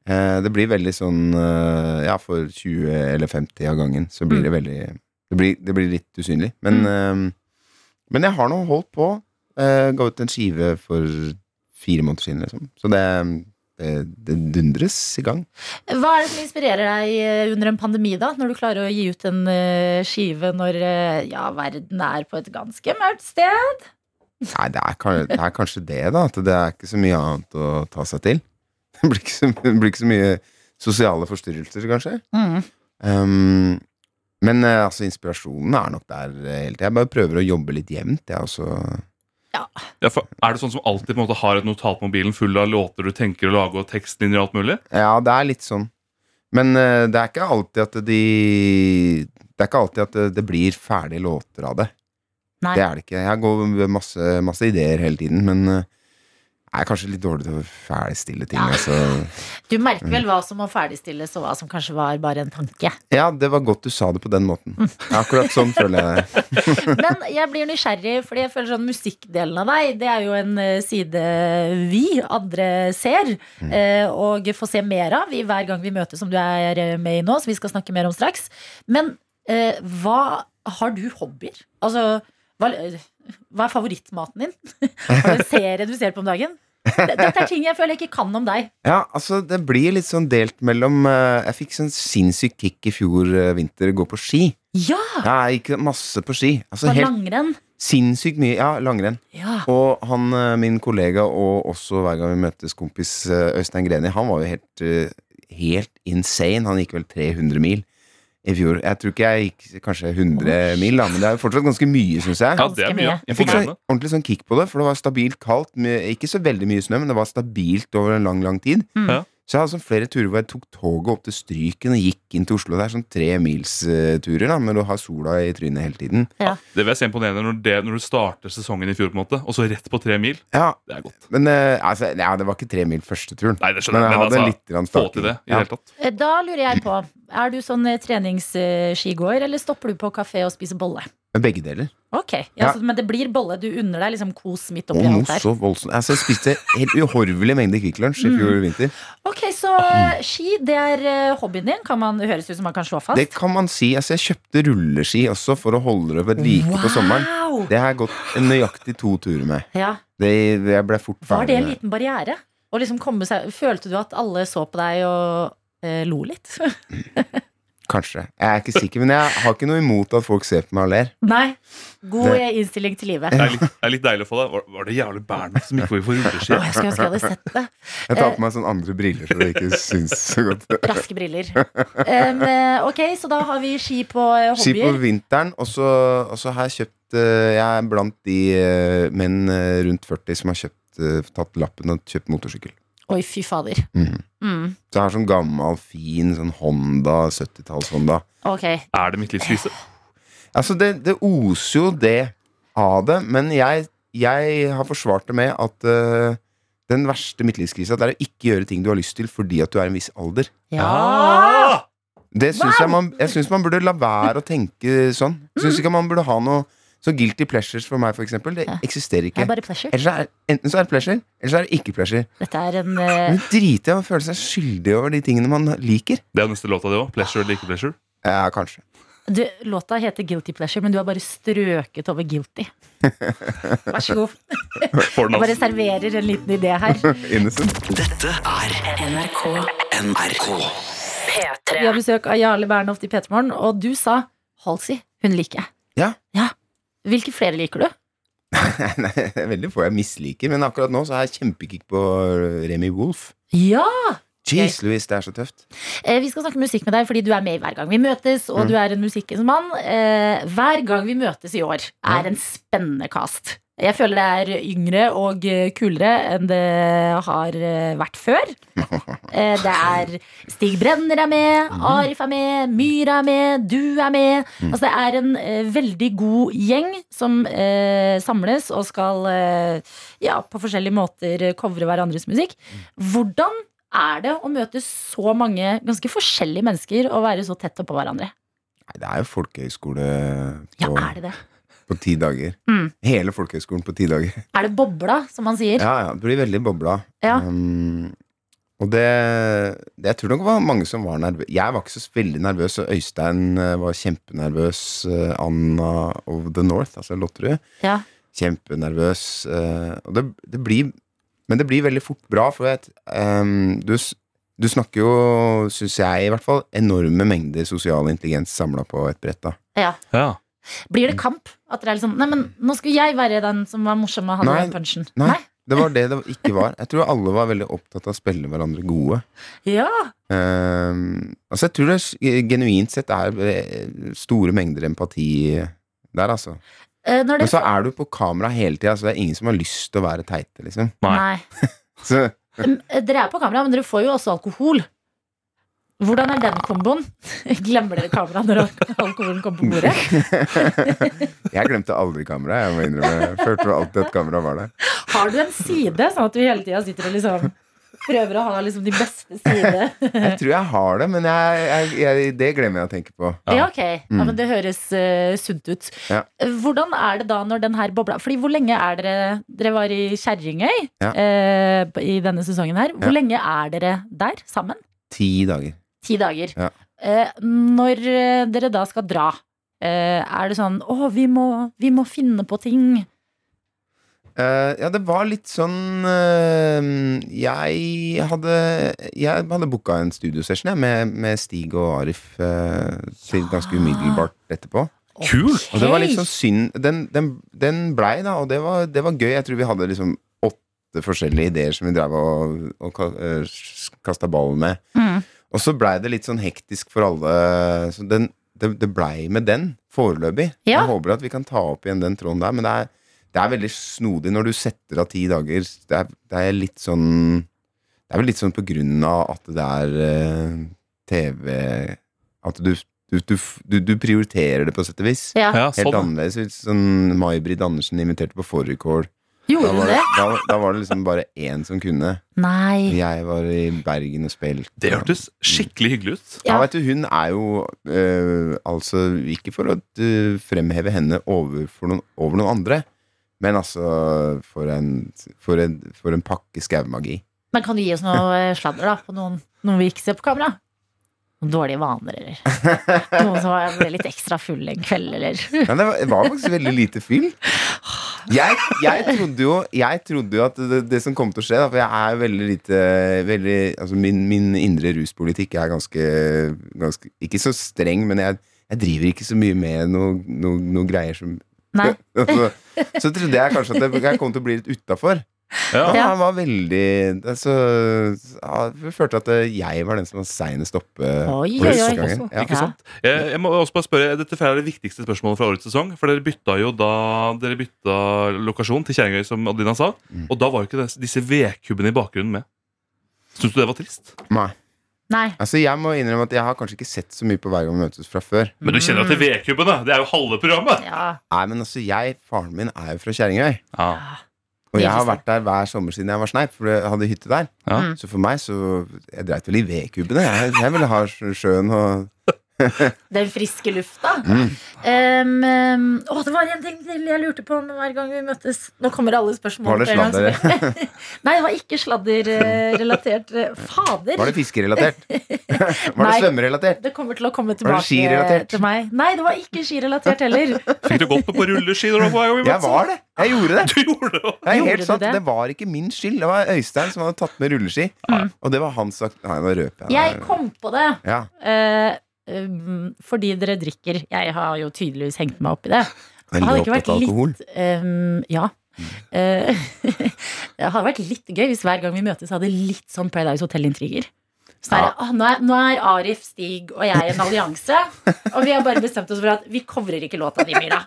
Speaker 8: Eh, det blir veldig sånn eh, Ja, for 20 eller 50 av gangen, så blir det veldig Det blir, det blir litt usynlig. Men, eh, men jeg har nå holdt på. Eh, ga ut en skive for fire måneder siden, liksom. Så det, det, det dundres i gang.
Speaker 3: liksom, Hva er det som inspirerer deg eh, under en pandemi, da? Når du klarer å gi ut en eh, skive når eh, ja, verden er på et ganske mørkt sted?
Speaker 8: Nei, det er, kan- det er kanskje det, da. At det er ikke så mye annet å ta seg til. Det blir ikke så, det blir ikke så mye sosiale forstyrrelser, kanskje. Um, men eh, altså, inspirasjonen er nok der eh, hele tida. Jeg bare prøver å jobbe litt jevnt, jeg altså. også.
Speaker 4: Ja, for er det sånn som alltid på en måte har et notat på mobilen full av låter du tenker å lage, og tekstlinjer og alt mulig?
Speaker 8: Ja, det er litt sånn. Men eh, det er ikke alltid at de Det er ikke alltid at det, det blir ferdige låter av det.
Speaker 3: Nei.
Speaker 8: Det er det ikke. Jeg går med masse, masse ideer hele tiden, men eh, Jeg er kanskje litt dårlig til å ferdigstille ting. Altså.
Speaker 3: Du merker vel hva som må ferdigstilles, og hva som kanskje var bare en tanke.
Speaker 8: Ja, det var godt du sa det på den måten. Akkurat sånn føler jeg det.
Speaker 3: Men jeg blir nysgjerrig, fordi jeg føler sånn musikkdelen av deg, det er jo en eh, side vi andre ser, eh, og får se mer av i hver gang vi møtes, som du er eh, med i nå, som vi skal snakke mer om straks. Men eh, hva har du hobbyer? Altså, hva, hva er favorittmaten din? Har du en serie du ser på om dagen? D- Dette er ting jeg føler jeg ikke kan om deg.
Speaker 8: Ja, altså, det blir litt sånn delt mellom eh, Jeg fikk sånn sinnssykt kick i fjor eh, vinter, gå på ski.
Speaker 3: Ja!
Speaker 8: Jeg gikk masse på ski. Altså
Speaker 3: På
Speaker 8: helt
Speaker 3: langrenn.
Speaker 8: sinnssykt mye. Ja, langrenn.
Speaker 3: Ja.
Speaker 8: Og han, eh, min kollega, og også hver gang vi møtes kompis eh, Øystein Greni, han var jo helt, eh, helt insane. Han gikk vel 300 mil i fjor. Jeg tror ikke jeg gikk kanskje 100 mil, da, men det er jo fortsatt ganske mye, syns jeg.
Speaker 4: Ja, det er
Speaker 3: Ganske
Speaker 4: mye.
Speaker 3: mye.
Speaker 8: Jeg fikk sånn,
Speaker 4: Imponerende.
Speaker 8: ordentlig sånn kick på det, for det var stabilt kaldt. Med, ikke så veldig mye snø, men det var stabilt over en lang, lang tid.
Speaker 3: Mm.
Speaker 4: Ja.
Speaker 8: Så jeg hadde sånn flere turer hvor jeg tok toget opp til Stryken og gikk inn til Oslo. Det er sånn tremilsturer, da, men du har sola i trynet hele tiden.
Speaker 4: Det vil jeg se imponerende når, det, når du starter sesongen i fjor, på en måte og så rett på tre mil.
Speaker 8: Ja,
Speaker 4: Det er godt.
Speaker 8: men eh, altså, ja, det var ikke tre mil første turen.
Speaker 4: Nei, det skjønner
Speaker 8: Men
Speaker 4: jeg,
Speaker 8: jeg
Speaker 4: men
Speaker 8: hadde
Speaker 4: altså,
Speaker 8: litt grann
Speaker 4: Få
Speaker 8: staking.
Speaker 4: til det i
Speaker 8: Ja.
Speaker 4: det hele tatt.
Speaker 3: Eh, Da lurer jeg på, er du sånn eh, treningsskigåer, eller stopper du på kafé og spiser bolle?
Speaker 8: Men Begge deler.
Speaker 3: Ok, ja,
Speaker 8: Ja.
Speaker 3: så, Men det blir bolle. Du unner deg liksom kos midt
Speaker 8: Og
Speaker 3: oppi
Speaker 8: noe
Speaker 3: alt der.
Speaker 8: så voldsomt. Altså, jeg spiste helt uhorvelige mengder Kvikk Lunsj i
Speaker 3: Mm.
Speaker 8: fjor vinter.
Speaker 3: Ok, Så eh, ski, det er eh, hobbyen din? Kan man, høres ut som man kan slå fast.
Speaker 8: Det kan man si. Altså, jeg kjøpte rulleski også for å holde det ved like på sommeren.
Speaker 3: Wow!
Speaker 8: Det har jeg gått nøyaktig to turer med.
Speaker 3: Ja.
Speaker 8: Det, jeg ble fort
Speaker 3: Var
Speaker 8: ferdig
Speaker 3: det en
Speaker 8: med det.
Speaker 3: liten barriere? Å liksom komme seg, følte du at alle så på deg og eh, lo litt?
Speaker 8: Kanskje. Jeg er ikke sikker, men jeg har ikke noe imot at folk ser på meg og ler.
Speaker 3: Nei. God
Speaker 8: Det-
Speaker 3: eh, innstilling til livet.
Speaker 4: Det er litt, det er litt deilig å få det. Var, var det jævlig Bernhoft som gikk over for
Speaker 3: Å,
Speaker 4: rulleski?
Speaker 3: jeg skulle ønske jeg hadde sett det.
Speaker 8: Jeg
Speaker 3: Eh.
Speaker 8: tar på meg sånn andre briller så det ikke syns så godt.
Speaker 3: Raske briller. Em, eh, ok, så da har vi ski på eh,
Speaker 8: Si på
Speaker 3: hobbyer.
Speaker 8: vinteren, og så og så har jeg kjøpt eh, Jeg er blant de eh, menn eh, rundt 40 som har kjøpt eh, tatt lappen og kjøpt motorsykkel.
Speaker 3: Oi, fy fader.
Speaker 8: Mhm.
Speaker 3: Mm.
Speaker 8: Så jeg har sånn gammel, fin sånn Honda, 70-talls-Honda.
Speaker 3: Ok.
Speaker 4: Er det mitt livs krise?
Speaker 8: Altså, det, det oser jo det av det, men jeg, jeg har forsvart det med at eh, den verste midtlivskrisa det er å ikke gjøre ting du har lyst til fordi at du er en viss alder.
Speaker 3: Ja!
Speaker 8: Det synes Jeg man, jeg syns man burde la være å tenke sånn. Jeg syns ikke man burde ha noe så guilty pleasures for meg, for eksempel. Det
Speaker 3: Mm. Ja.
Speaker 8: eksisterer
Speaker 3: Det
Speaker 8: ikke.
Speaker 3: er bare pleasure.
Speaker 8: Ellers er, enten så er det pleasure, eller så er det ikke pleasure.
Speaker 3: Dette er en eh,
Speaker 8: Men driter jeg i å føle seg skyldig over de tingene man liker.
Speaker 4: Det er neste låta, det òg. Pleasure eller ikke pleasure.
Speaker 8: Ja, kanskje.
Speaker 3: Du, låta heter Guilty Pleasure, men du har bare strøket over guilty. Vær så god.
Speaker 4: Får
Speaker 3: Jeg
Speaker 4: den
Speaker 3: bare
Speaker 4: altså.
Speaker 3: serverer en liten idé her.
Speaker 8: Innocent.
Speaker 1: Dette er
Speaker 2: NRK
Speaker 1: NRK.
Speaker 3: Vi har
Speaker 2: P3.
Speaker 3: besøk av Jarle Bernhoft i P3 Morgen, og du sa Halsey. Hun liker jeg.
Speaker 8: Ja.
Speaker 3: Hvilke flere liker du?
Speaker 8: Nei, det er veldig få jeg misliker, men akkurat nå så har jeg kjempekick på Remy Wolf.
Speaker 3: Ja!
Speaker 8: Jeez, Louise, det er så tøft.
Speaker 3: Eh, Vi skal snakke musikk med deg, fordi du er med i hver gang vi møtes, og
Speaker 8: Mm.
Speaker 3: du er en musikkens mann. Eh, Hver gang vi møtes i år,
Speaker 8: Ja.
Speaker 3: er en spennende cast. Jeg føler det er yngre og eh, kulere enn det har eh, vært før. Eh, Det er Stig Brenner er med,
Speaker 8: Mhm.
Speaker 3: Arif er med, Myra er med, du er med.
Speaker 8: Mm.
Speaker 3: Altså det er en eh, veldig god gjeng som eh, samles og skal eh, ja, på forskjellige måter eh, covre hverandres musikk.
Speaker 8: Mm.
Speaker 3: Hvordan er det å møte så mange ganske forskjellige mennesker og være så tett oppå hverandre?
Speaker 8: Nei, det er jo folkehøyskole
Speaker 3: Ja,
Speaker 8: på,
Speaker 3: er det det?
Speaker 8: på ti dager.
Speaker 3: Mm.
Speaker 8: Hele folkehøyskolen på ti dager.
Speaker 3: Er det bobla, som man sier?
Speaker 8: Ja, ja, det blir veldig bobla.
Speaker 3: Ja.
Speaker 8: Um, og det, det Jeg tror nok det var mange som var nervøse. Jeg var ikke så veldig nervøs, og Øystein eh, var kjempenervøs. eh, Anna of the North, altså Lotterud.
Speaker 3: Ja.
Speaker 8: Kjempenervøs. eh, Og det, det blir Men det blir veldig fort bra, for jeg, ehm, du, s- du snakker jo, syns jeg i hvert fall, enorme mengder sosial intelligens samla på et brett. da
Speaker 3: Ja.
Speaker 4: Ja.
Speaker 3: Blir det kamp? At dere er liksom Nei, men nå skulle jeg være den som var morsom og hadde
Speaker 8: Nei.
Speaker 3: den punchen.
Speaker 8: Nei, det var det det ikke var. Jeg tror alle var veldig opptatt av å spille hverandre gode.
Speaker 3: Ja.
Speaker 8: Ehm, altså Jeg tror det s- genuint sett er eh, store mengder empati der, altså.
Speaker 3: Eh, Når
Speaker 8: Men
Speaker 3: det
Speaker 8: så er du på kamera hele tida, så det er ingen som har lyst til å være teite, liksom.
Speaker 4: Nei.
Speaker 3: Nei.
Speaker 8: Så
Speaker 3: Mm, Dere er på kamera, men dere får jo også alkohol. Hvordan er den komboen? Glemmer dere kameraet når al- alkoholen kommer på bordet?
Speaker 8: jeg glemte aldri kameraet, jeg må innrømme. Jeg følte alltid at kameraet var der.
Speaker 3: Har du en side, sånn at du hele tida sitter og liksom prøver å ha liksom de beste sidene?
Speaker 8: Jeg tror jeg har det, men jeg, jeg, jeg, det glemmer jeg å tenke på.
Speaker 3: Ja, ok. Ja,
Speaker 8: Mm.
Speaker 3: men det høres eh, sunt ut.
Speaker 8: Ja.
Speaker 3: Hvordan er det da når den her bobla Fordi hvor lenge er dere Dere var i Kjerringøy
Speaker 8: Ja.
Speaker 3: eh, i denne sesongen her. Hvor
Speaker 8: Ja.
Speaker 3: lenge er dere der sammen?
Speaker 8: Ti dager.
Speaker 3: Ti dager.
Speaker 8: Ja.
Speaker 3: Eh, når eh, dere da skal dra, eh, er det sånn Å, vi må, vi må finne på ting.
Speaker 8: Eh, ja, det var litt sånn eh, Jeg hadde Jeg hadde booka en studiosession jeg, med, med Stig og Arif eh, til ganske umiddelbart etterpå.
Speaker 4: Kult!
Speaker 8: Og det var litt sånn synd Den, den, den blei, da, og det var, det var gøy. Jeg tror vi hadde liksom åtte forskjellige ideer som vi drev og, og ka- eh, kasta ballen med.
Speaker 3: Mm.
Speaker 8: Og så blei det litt sånn hektisk for alle. Så den, det, det blei med den, foreløpig.
Speaker 3: Ja.
Speaker 8: Jeg håper at vi kan ta opp igjen den tråden der, men det er, det er veldig snodig når du setter av ti dager. Det er, det er litt sånn Det er vel litt sånn på grunn av at det er eh, TV At du, du, du, du, du prioriterer det, på sett og vis.
Speaker 3: Ja.
Speaker 4: Ja,
Speaker 8: Helt
Speaker 4: sånn.
Speaker 8: annerledes. Sånn May-Britt Andersen inviterte på fårikål. Da,
Speaker 3: Gjorde
Speaker 8: var
Speaker 3: dere
Speaker 8: det-
Speaker 3: det? Mm.
Speaker 8: da, da var det liksom bare én som kunne.
Speaker 3: Nei.
Speaker 8: Jeg var i Bergen og spilte.
Speaker 4: Det hørtes skikkelig hyggelig ut.
Speaker 8: Ja,
Speaker 3: Ja.
Speaker 8: vet du, hun er jo øh, Altså, ikke for å øh, fremheve henne over, for noen, over noen andre, men altså For en, for en, for en pakke skaumagi.
Speaker 3: Men kan du gi oss noe eh, sladder, da? På noen, noen vi ikke ser på kamera? Noen dårlige vaner, eller? Noen som var- ble litt ekstra full en kveld, eller?
Speaker 8: Men det var, det var faktisk veldig lite fyll. Jeg, jeg trodde jo Jeg trodde jo at det, det som kom til å skje, da, for jeg er veldig lite veldig, altså min, min indre ruspolitikk er ganske, ganske Ikke så streng, men jeg, jeg driver ikke så mye med noe, noe, noe greier som
Speaker 3: Nei.
Speaker 8: så, så trodde jeg kanskje at jeg, jeg kom til å bli litt utafor.
Speaker 4: Ja.
Speaker 8: Men Han var veldig altså, ja, Jeg følte at jeg var den som var seinest oppe.
Speaker 3: Oi, oi,
Speaker 8: på første
Speaker 3: oi.
Speaker 8: gangen. Ja.
Speaker 4: Ikke sant? Eh, Jeg, jeg må også bare spørre, Dette er det viktigste spørsmålet fra årets sesong. For Dere bytta jo da Dere bytta lokasjon til Kjerringøy, som Adelina sa. Og da var jo ikke det- disse vedkubbene i bakgrunnen med. Syns du det var trist?
Speaker 8: Nei.
Speaker 3: Nei.
Speaker 8: Altså, jeg må innrømme at jeg har kanskje ikke sett så mye på Hver gang vi møtes fra før.
Speaker 4: Men du kjenner jo til vedkubbene! Det er jo halve programmet!
Speaker 3: Ja.
Speaker 8: Nei, men altså, jeg, Faren min er jo fra Kjerringøy.
Speaker 4: Ja.
Speaker 8: Og jeg har
Speaker 3: Interessant.
Speaker 8: vært der hver sommer siden jeg var sneip, for jeg hadde hytte der.
Speaker 4: Ja.
Speaker 3: Mm.
Speaker 8: Så for meg så Jeg dreit vel i vedkubbene. Jeg, jeg ville ha sjøen og
Speaker 3: Den friske lufta.
Speaker 8: Mm.
Speaker 3: Um, um, å, det var en ting til jeg lurte på med hver gang vi møttes. Nå kommer alle spørsmål.
Speaker 8: Var det
Speaker 3: på en gang, så- Nei, det var ikke sladderrelatert. Fader!
Speaker 8: Var det fiskerelatert? Var det
Speaker 3: Nei.
Speaker 8: svømmerelatert?
Speaker 3: det kommer til å komme
Speaker 8: det
Speaker 3: tilbake
Speaker 8: skirelatert?
Speaker 3: til meg. Nei, det var ikke skirelatert heller.
Speaker 4: Fikk du gått på, på rulleski da du var på vei?
Speaker 8: Jeg var det! Jeg gjorde det!
Speaker 4: Du gjorde det!
Speaker 8: Det er
Speaker 3: Gjorde
Speaker 8: helt
Speaker 3: du
Speaker 8: sant,
Speaker 3: det?
Speaker 8: det? var ikke min skyld. Det var Øystein som hadde tatt med rulleski. Og det var hans sak... Nei, nå røper
Speaker 3: Mm. Jeg
Speaker 8: jeg.
Speaker 3: kom på det.
Speaker 8: Ja.
Speaker 3: Eh, um, fordi dere drikker. Jeg har jo tydeligvis hengt meg opp i det.
Speaker 8: Veldig
Speaker 3: Hadde ikke
Speaker 8: opptatt
Speaker 3: vært
Speaker 8: av
Speaker 3: litt-
Speaker 8: alkohol.
Speaker 3: Um, ja. Eh, det hadde vært litt gøy hvis hver gang vi møtes hadde litt sånn Paradise Hotel-intriger. Så er det, «Åh, nå, er, nå er Arif, Stig og jeg en allianse, og vi har bare bestemt oss for at vi covrer ikke låta di, Myra.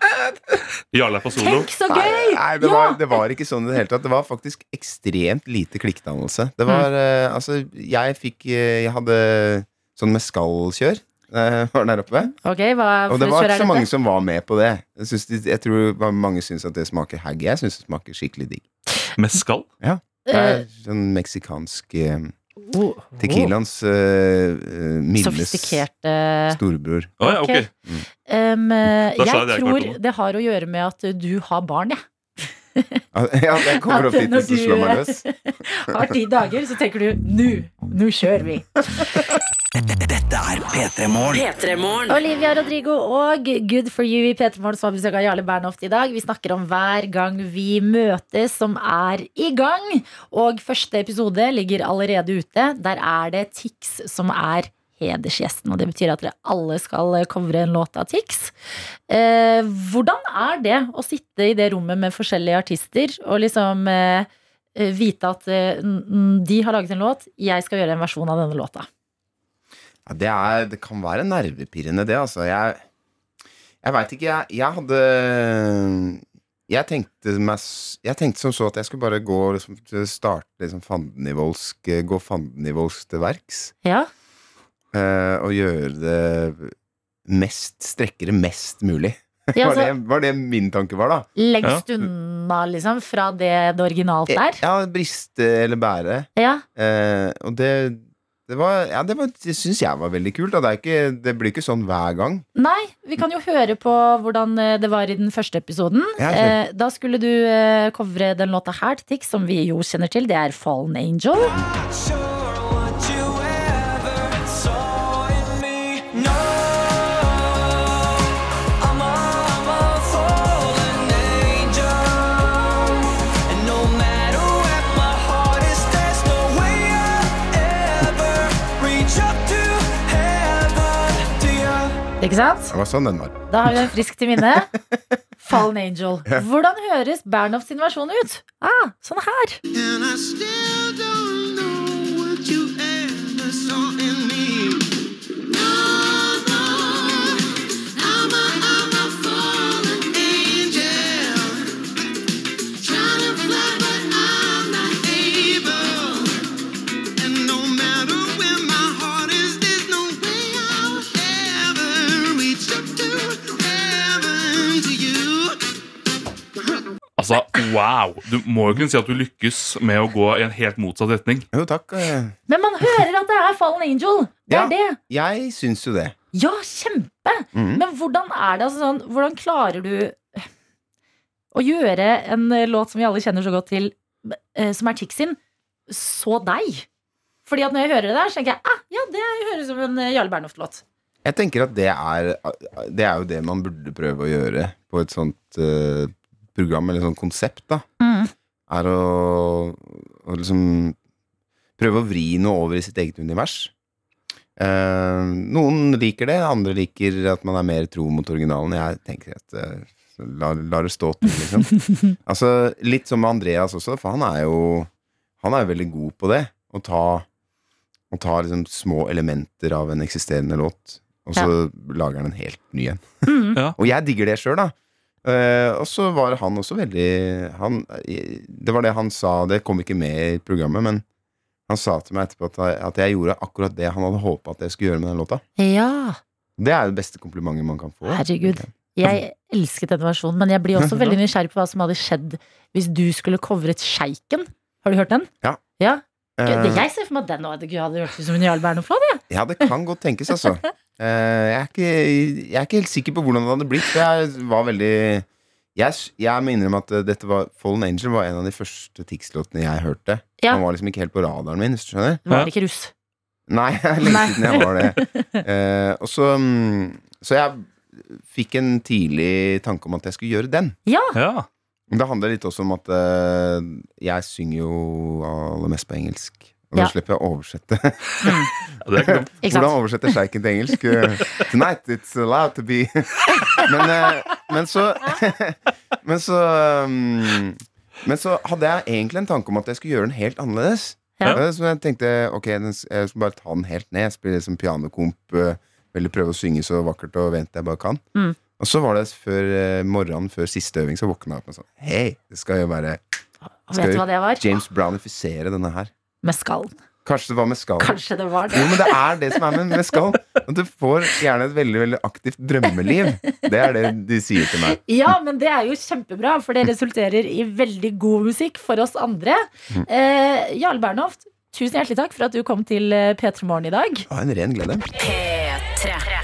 Speaker 4: Jarle er på solo.
Speaker 3: Tenk så
Speaker 8: Nei,
Speaker 3: gøy!
Speaker 8: nei det,
Speaker 3: Ja!
Speaker 8: var, det var ikke sånn i det hele tatt. Det var faktisk ekstremt lite klikkdannelse. Det var
Speaker 3: Mm.
Speaker 8: eh, Altså, jeg fikk eh, Jeg hadde sånn meskalkjør eh, var der oppe.
Speaker 3: Ok, hva
Speaker 8: Og
Speaker 3: for
Speaker 8: det var
Speaker 3: kjør er
Speaker 8: ikke så
Speaker 3: dette?
Speaker 8: mange som var med på det. Jeg, synes de, jeg tror bare mange syns at det smaker haggy. Jeg syns det smaker skikkelig digg.
Speaker 4: Mescal.
Speaker 8: Det er
Speaker 3: Eh,
Speaker 8: sånn meksikansk eh,
Speaker 3: oh, oh,
Speaker 8: Tequilaens eh, eh, Mildes
Speaker 3: Sofistikerte
Speaker 8: storebror.
Speaker 4: Å ja, ok.
Speaker 3: um, eh, Jeg
Speaker 4: Da sa jeg det jeg
Speaker 3: tror
Speaker 4: klarte nå.
Speaker 3: det har å gjøre med at du har barn, jeg.
Speaker 8: Ja, jeg kommer opp
Speaker 3: At
Speaker 8: dit
Speaker 3: når
Speaker 8: og så slår meg løs.
Speaker 3: har ti dager, så tenker du nå, nå kjører vi.
Speaker 1: Dette er P3 Morgen.
Speaker 2: P3morgen.
Speaker 3: Olivia Rodrigo og Good for you i P3 Morgen som har besøk av Jarle Bernhoft i dag. Vi snakker om hver gang vi møtes, som er i gang. Og første episode ligger allerede ute. Der er det Tix som er hedersgjesten. Og det betyr at dere alle skal covre en låt av Tix. Eh, hvordan er det å sitte i det rommet med forskjellige artister og liksom eh, vite at eh, n- n- de har laget en låt, jeg skal gjøre en versjon av denne låta?
Speaker 8: Ja, det, er, det kan være nervepirrende, det, altså. Jeg, jeg veit ikke. Jeg, jeg hadde jeg tenkte, meg, s- jeg tenkte som så at jeg skulle bare gå liksom, starte liksom, fandenivoldsk Gå fandenivoldsk til verks.
Speaker 3: Ja,
Speaker 8: eh, og gjøre det mest Strekke det mest mulig.
Speaker 3: Ja,
Speaker 8: Var det,
Speaker 3: altså,
Speaker 8: var det min tanke var, da?
Speaker 3: lengst unna, liksom, fra det det originalt er.
Speaker 8: Ja, briste eller bære.
Speaker 3: Ja.
Speaker 8: Eh, og det, det var Ja, det, var- det syns jeg var veldig kult. Da. Det, er ikke, det blir ikke sånn hver gang.
Speaker 3: Nei, vi kan jo høre på hvordan eh, det var i den første episoden.
Speaker 8: Ja, kjør.
Speaker 3: Eh, da skulle du eh, covre den låta her til Tix, som vi jo kjenner til. Det er Fallen Angel. Ikke sant?
Speaker 8: Det var sånn den var.
Speaker 3: Da har vi den frisk til minne. Fallen Angel. Hvordan høres Bernhoft sin versjon ut? Ah, sånn her.
Speaker 4: Altså, wow! Du må jo kunne si at du lykkes med å gå i en helt motsatt retning.
Speaker 8: Jo, takk. eh,
Speaker 3: Men man hører at det er Fallen Angel. Det
Speaker 8: Ja.
Speaker 3: er det.
Speaker 8: Jeg syns jo det.
Speaker 3: Ja, kjempe!
Speaker 8: Mhm.
Speaker 3: Men hvordan er det altså sånn Hvordan klarer du eh, å gjøre en eh, låt som vi alle kjenner så godt til, eh, som er Tix sin, så deg? Fordi at når jeg hører det der, så tenker jeg ah, ja, det høres ut som en eh, Jarle Bernhoft-låt.
Speaker 8: Jeg tenker at det er, det er jo det man burde prøve å gjøre på et sånt eh, program eller sånt konsept, da.
Speaker 3: Mhm.
Speaker 8: Er å, å liksom prøve å vri noe over i sitt eget univers. Eh, noen liker det, andre liker at man er mer tro mot originalen. Jeg tenker at eh, så la, la det stå til, liksom. altså, litt som med Andreas også, for han er jo Han er jo veldig god på det. Å ta, å ta liksom små elementer av en eksisterende låt, og så lager han en helt ny en.
Speaker 3: Mhm.
Speaker 4: Ja.
Speaker 8: Og jeg digger det sjøl, da. Eh, og så var han også veldig han, Det var det han sa, det kom ikke med i programmet, men han sa til meg etterpå at, at jeg gjorde akkurat det han hadde håpa at jeg skulle gjøre med den låta.
Speaker 3: Ja,
Speaker 8: Det er jo det beste komplimentet man kan få.
Speaker 3: herregud. Jeg elsket denne versjonen, men jeg blir også veldig nysgjerrig på hva som hadde skjedd hvis du skulle covret Sjeiken. Har du hørt den?
Speaker 8: Ja.
Speaker 3: ja.
Speaker 8: Eh,
Speaker 3: Det- Jeg ser for meg at den hadde hadde hørt ut som en Jarle Bernhoft-låt. jeg.
Speaker 8: ja, det kan godt tenkes, altså. Eh, jeg, er ikke, jeg er ikke helt sikker på hvordan det hadde blitt. for Jeg var veldig jeg, s- jeg må innrømme at eh, dette var Fallen Angel var en av de første Tix-låtene jeg hørte.
Speaker 3: Ja.
Speaker 8: Han var liksom ikke helt på radaren min, hvis du skjønner.
Speaker 3: Det var
Speaker 4: Ja.
Speaker 3: ikke russ.
Speaker 8: Nei, det er lenge
Speaker 3: Nei.
Speaker 8: siden jeg var det. Eh, og så, mm, så jeg fikk en tidlig tanke om at jeg skulle gjøre den.
Speaker 4: Ja.
Speaker 8: Men det handler litt også om at eh, jeg synger jo aller mest på engelsk. Og da
Speaker 3: Ja.
Speaker 8: slipper jeg å oversette.
Speaker 4: Det er ikke dumt.
Speaker 3: Ikke sant?
Speaker 8: Hvordan oversetter sjeiken til engelsk? Eh, Tonight it's allowed to be men, eh, men så Men så mm, Men så hadde jeg egentlig en tanke om at jeg skulle gjøre den helt annerledes.
Speaker 3: Ja.
Speaker 8: Eh, Så jeg tenkte ok, den, s- jeg skal bare ta den helt ned. Jeg spiller som pianokomp. eh, Veldig prøve å synge så vakkert og vent jeg bare kan.
Speaker 3: Mm.
Speaker 8: Og så var det før eh, morgenen før siste øving, så våkna jeg opp og sa hei, det skal jo være
Speaker 3: Vet du hva det var?
Speaker 8: James Brownifisere denne her.
Speaker 3: Med skallen.
Speaker 8: Kanskje det var med skallen.
Speaker 3: Kanskje det var det.
Speaker 8: Jo, men det er det som er med mescal. At du får gjerne et veldig veldig aktivt drømmeliv. Det er det de sier til meg.
Speaker 3: Ja, men det er jo kjempebra, for det resulterer i veldig god musikk for oss andre. Eh, Jarle Bernhoft, tusen hjertelig takk for at du kom til eh, P3 Morgen i dag.
Speaker 8: Det var en ren glede.
Speaker 2: P3.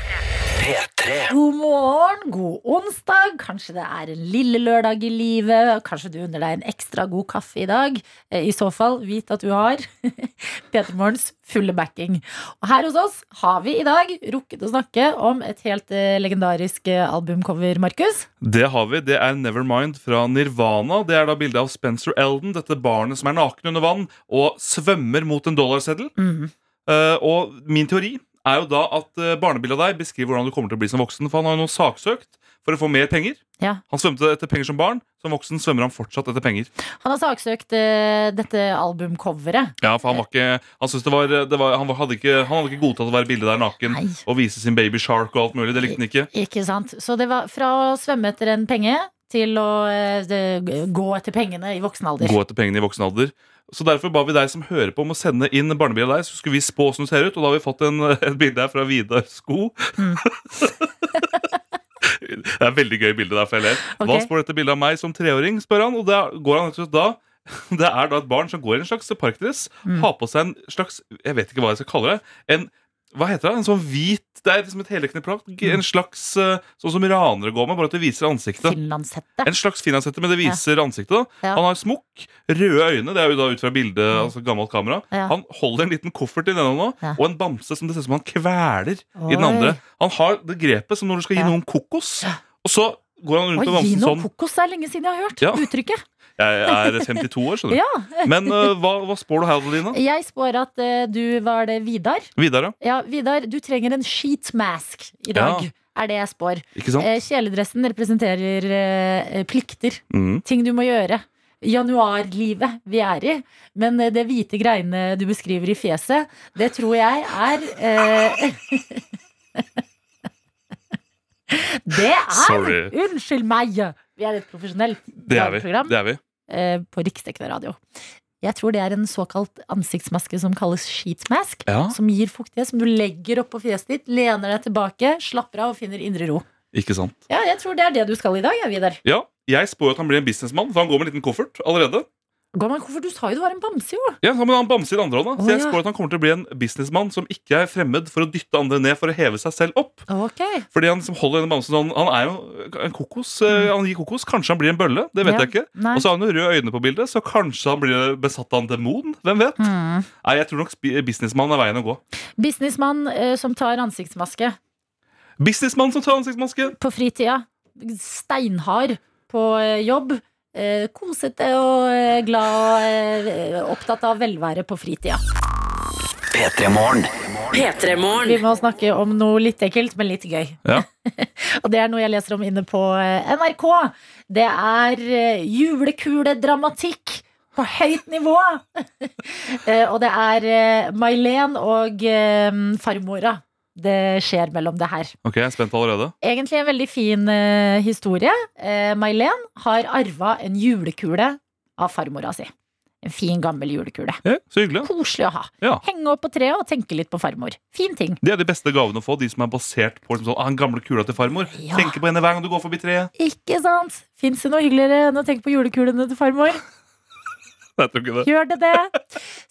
Speaker 1: P3.
Speaker 3: God morgen, god onsdag. Kanskje det er en lille lørdag i livet. Kanskje du unner deg en ekstra god kaffe i dag. Eh, I så fall, vit at du har Peter Morgens fulle backing. Og her hos oss har vi i dag rukket å snakke om et helt eh, legendarisk eh, albumcover, Markus.
Speaker 4: Det har vi. Det er Nevermind fra Nirvana. Det er da bildet av Spencer Elden, dette barnet som er naken under vann og svømmer mot en dollarseddel.
Speaker 3: Mhm.
Speaker 4: Eh, og min teori er jo da at eh, barnebildet av deg beskriver hvordan du kommer til å bli som voksen. For han har jo nå saksøkt for å få mer penger.
Speaker 3: Ja.
Speaker 4: Han svømte etter penger som barn. Som voksen svømmer han fortsatt etter penger.
Speaker 3: Han har saksøkt eh, dette albumcoveret.
Speaker 4: Ja, for Han var ikke, han syntes det var, det var han, var, hadde ikke, han hadde ikke godtatt å være bildet der naken
Speaker 3: Nei.
Speaker 4: og vise sin baby shark og alt mulig. Det likte han ikke.
Speaker 3: Ikke sant? Så det var fra å svømme etter en penge til å eh, det- gå etter pengene i voksen alder.
Speaker 4: Gå etter pengene i voksen alder. Så derfor ba vi deg som hører på om å sende inn barnebildet av deg, så skulle vi spå åssen
Speaker 3: Mm.
Speaker 4: du ser ut, og da har vi fått en, et bilde her fra Vidar Sko. Det er et veldig gøy bilde derfor jeg ler. Hva
Speaker 3: Ok.
Speaker 4: spår dette bildet av meg som treåring, spør han. Og da går han ut da det er da et barn som går i en slags parkdress,
Speaker 3: Mm.
Speaker 4: har på seg en slags Jeg vet ikke hva jeg skal kalle det. En, hva heter det? En sånn hvit Det er liksom et heldekkende plagg.
Speaker 3: Mm.
Speaker 4: En slags eh, sånn som ranere går med, bare at det viser ansiktet.
Speaker 3: Finlandshette.
Speaker 4: En slags finlandshette, men det viser ansiktet. da
Speaker 3: Ja.
Speaker 4: Han har smokk, røde øyne, det er jo da ut fra bildet, altså gammelt kamera.
Speaker 3: Ja.
Speaker 4: Han holder en liten koffert i den hånda,
Speaker 3: Ja.
Speaker 4: og en bamse som det ser ut som han kveler i den
Speaker 3: Oi.
Speaker 4: andre. Han har det grepet som når du skal gi
Speaker 3: Ja.
Speaker 4: noen kokos, og så går
Speaker 3: Å,
Speaker 4: han rundt med
Speaker 3: gi
Speaker 4: bamsen
Speaker 3: noe
Speaker 4: sånn.
Speaker 3: kokos, det er lenge siden jeg har hørt
Speaker 4: Ja.
Speaker 3: uttrykket.
Speaker 4: Jeg er 52 år, skjønner du.
Speaker 3: Ja,
Speaker 4: Men eh, hva, hva spår du her, Adelina?
Speaker 3: Jeg spår at eh, du var det Vidar.
Speaker 4: Vidar, ja.
Speaker 3: Ja, Vidar, du trenger en sheetmask i dag.
Speaker 4: Ja.
Speaker 3: Er det jeg spår.
Speaker 4: Ikke sant?
Speaker 3: Eh, Kjeledressen representerer eh, plikter.
Speaker 4: Mm.
Speaker 3: Ting du må gjøre. Januarlivet vi er i. Men eh, det hvite greiene du beskriver i fjeset, det tror jeg er eh, Det er
Speaker 4: Sorry.
Speaker 3: Unnskyld meg! Vi er et profesjonelt
Speaker 4: Det er vi.
Speaker 3: program
Speaker 4: Det er vi.
Speaker 3: eh, på riksdekkende radio. Jeg tror det er en såkalt ansiktsmaske som kalles sheetmask.
Speaker 4: Ja,
Speaker 3: Som gir fuktighet, som du legger oppå fjeset ditt, lener deg tilbake, slapper av og finner indre ro.
Speaker 4: ikke sant.
Speaker 3: Ja, jeg tror det er det du skal i dag, jeg, Vidar.
Speaker 4: Ja, jeg spår at han blir en businessmann, for han går med en liten koffert allerede.
Speaker 3: Gå, men hvorfor du sa jo du var en bamse, jo?
Speaker 4: Ja, men han bamser i den andre hånda,
Speaker 3: Å,
Speaker 4: så jeg
Speaker 3: ja.
Speaker 4: spår at han kommer til å bli en businessmann som ikke er fremmed for å dytte andre ned for å heve seg selv opp.
Speaker 3: Ok.
Speaker 4: Fordi han som holder denne bamsen, sånn, han, han er jo en kokos. eh, Han gir kokos. Kanskje han blir en bølle. Det vet
Speaker 3: Mm. Ja.
Speaker 4: jeg ikke.
Speaker 3: Nei.
Speaker 4: Og så har han jo røde øyne på bildet, så kanskje han blir besatt av en demon. Hvem vet?
Speaker 3: Mm.
Speaker 4: Nei, Jeg tror nok spi- businessmann er veien å gå.
Speaker 3: Businessmann eh, som tar ansiktsmaske
Speaker 4: Businessmann som tar ansiktsmaske!
Speaker 3: på fritida. Steinhard på eh, jobb. Eh, kosete og eh, glad og eh, opptatt av velvære på fritida.
Speaker 1: P3 Morgen.
Speaker 2: P3
Speaker 3: Vi
Speaker 2: Morgen.
Speaker 3: må snakke om noe litt ekkelt, men litt gøy.
Speaker 4: Ja.
Speaker 3: og det er noe jeg leser om inne på eh, NRK. Det er eh, julekuledramatikk på høyt nivå. Eh, og det er eh, Mailen og eh, farmora det skjer mellom det her.
Speaker 4: Ok, jeg er spent allerede.
Speaker 3: Egentlig en veldig fin eh, historie. Eh, Mailen har arva en julekule av farmora si. En fin, gammel julekule.
Speaker 4: Ja, så hyggelig.
Speaker 3: Koselig å ha.
Speaker 4: Ja.
Speaker 3: Henge opp på treet og tenke litt på farmor. Fin ting.
Speaker 4: Det er de beste gavene å få, de som er basert på liksom, sånn, ah, den gamle kula til farmor.
Speaker 3: Ja.
Speaker 4: Tenker på henne hver gang du går forbi treet.
Speaker 3: Ikke sant? Fins det noe hyggeligere enn å tenke på julekulene til farmor?
Speaker 4: Nei, Jeg tror ikke det.
Speaker 3: Gjør det det?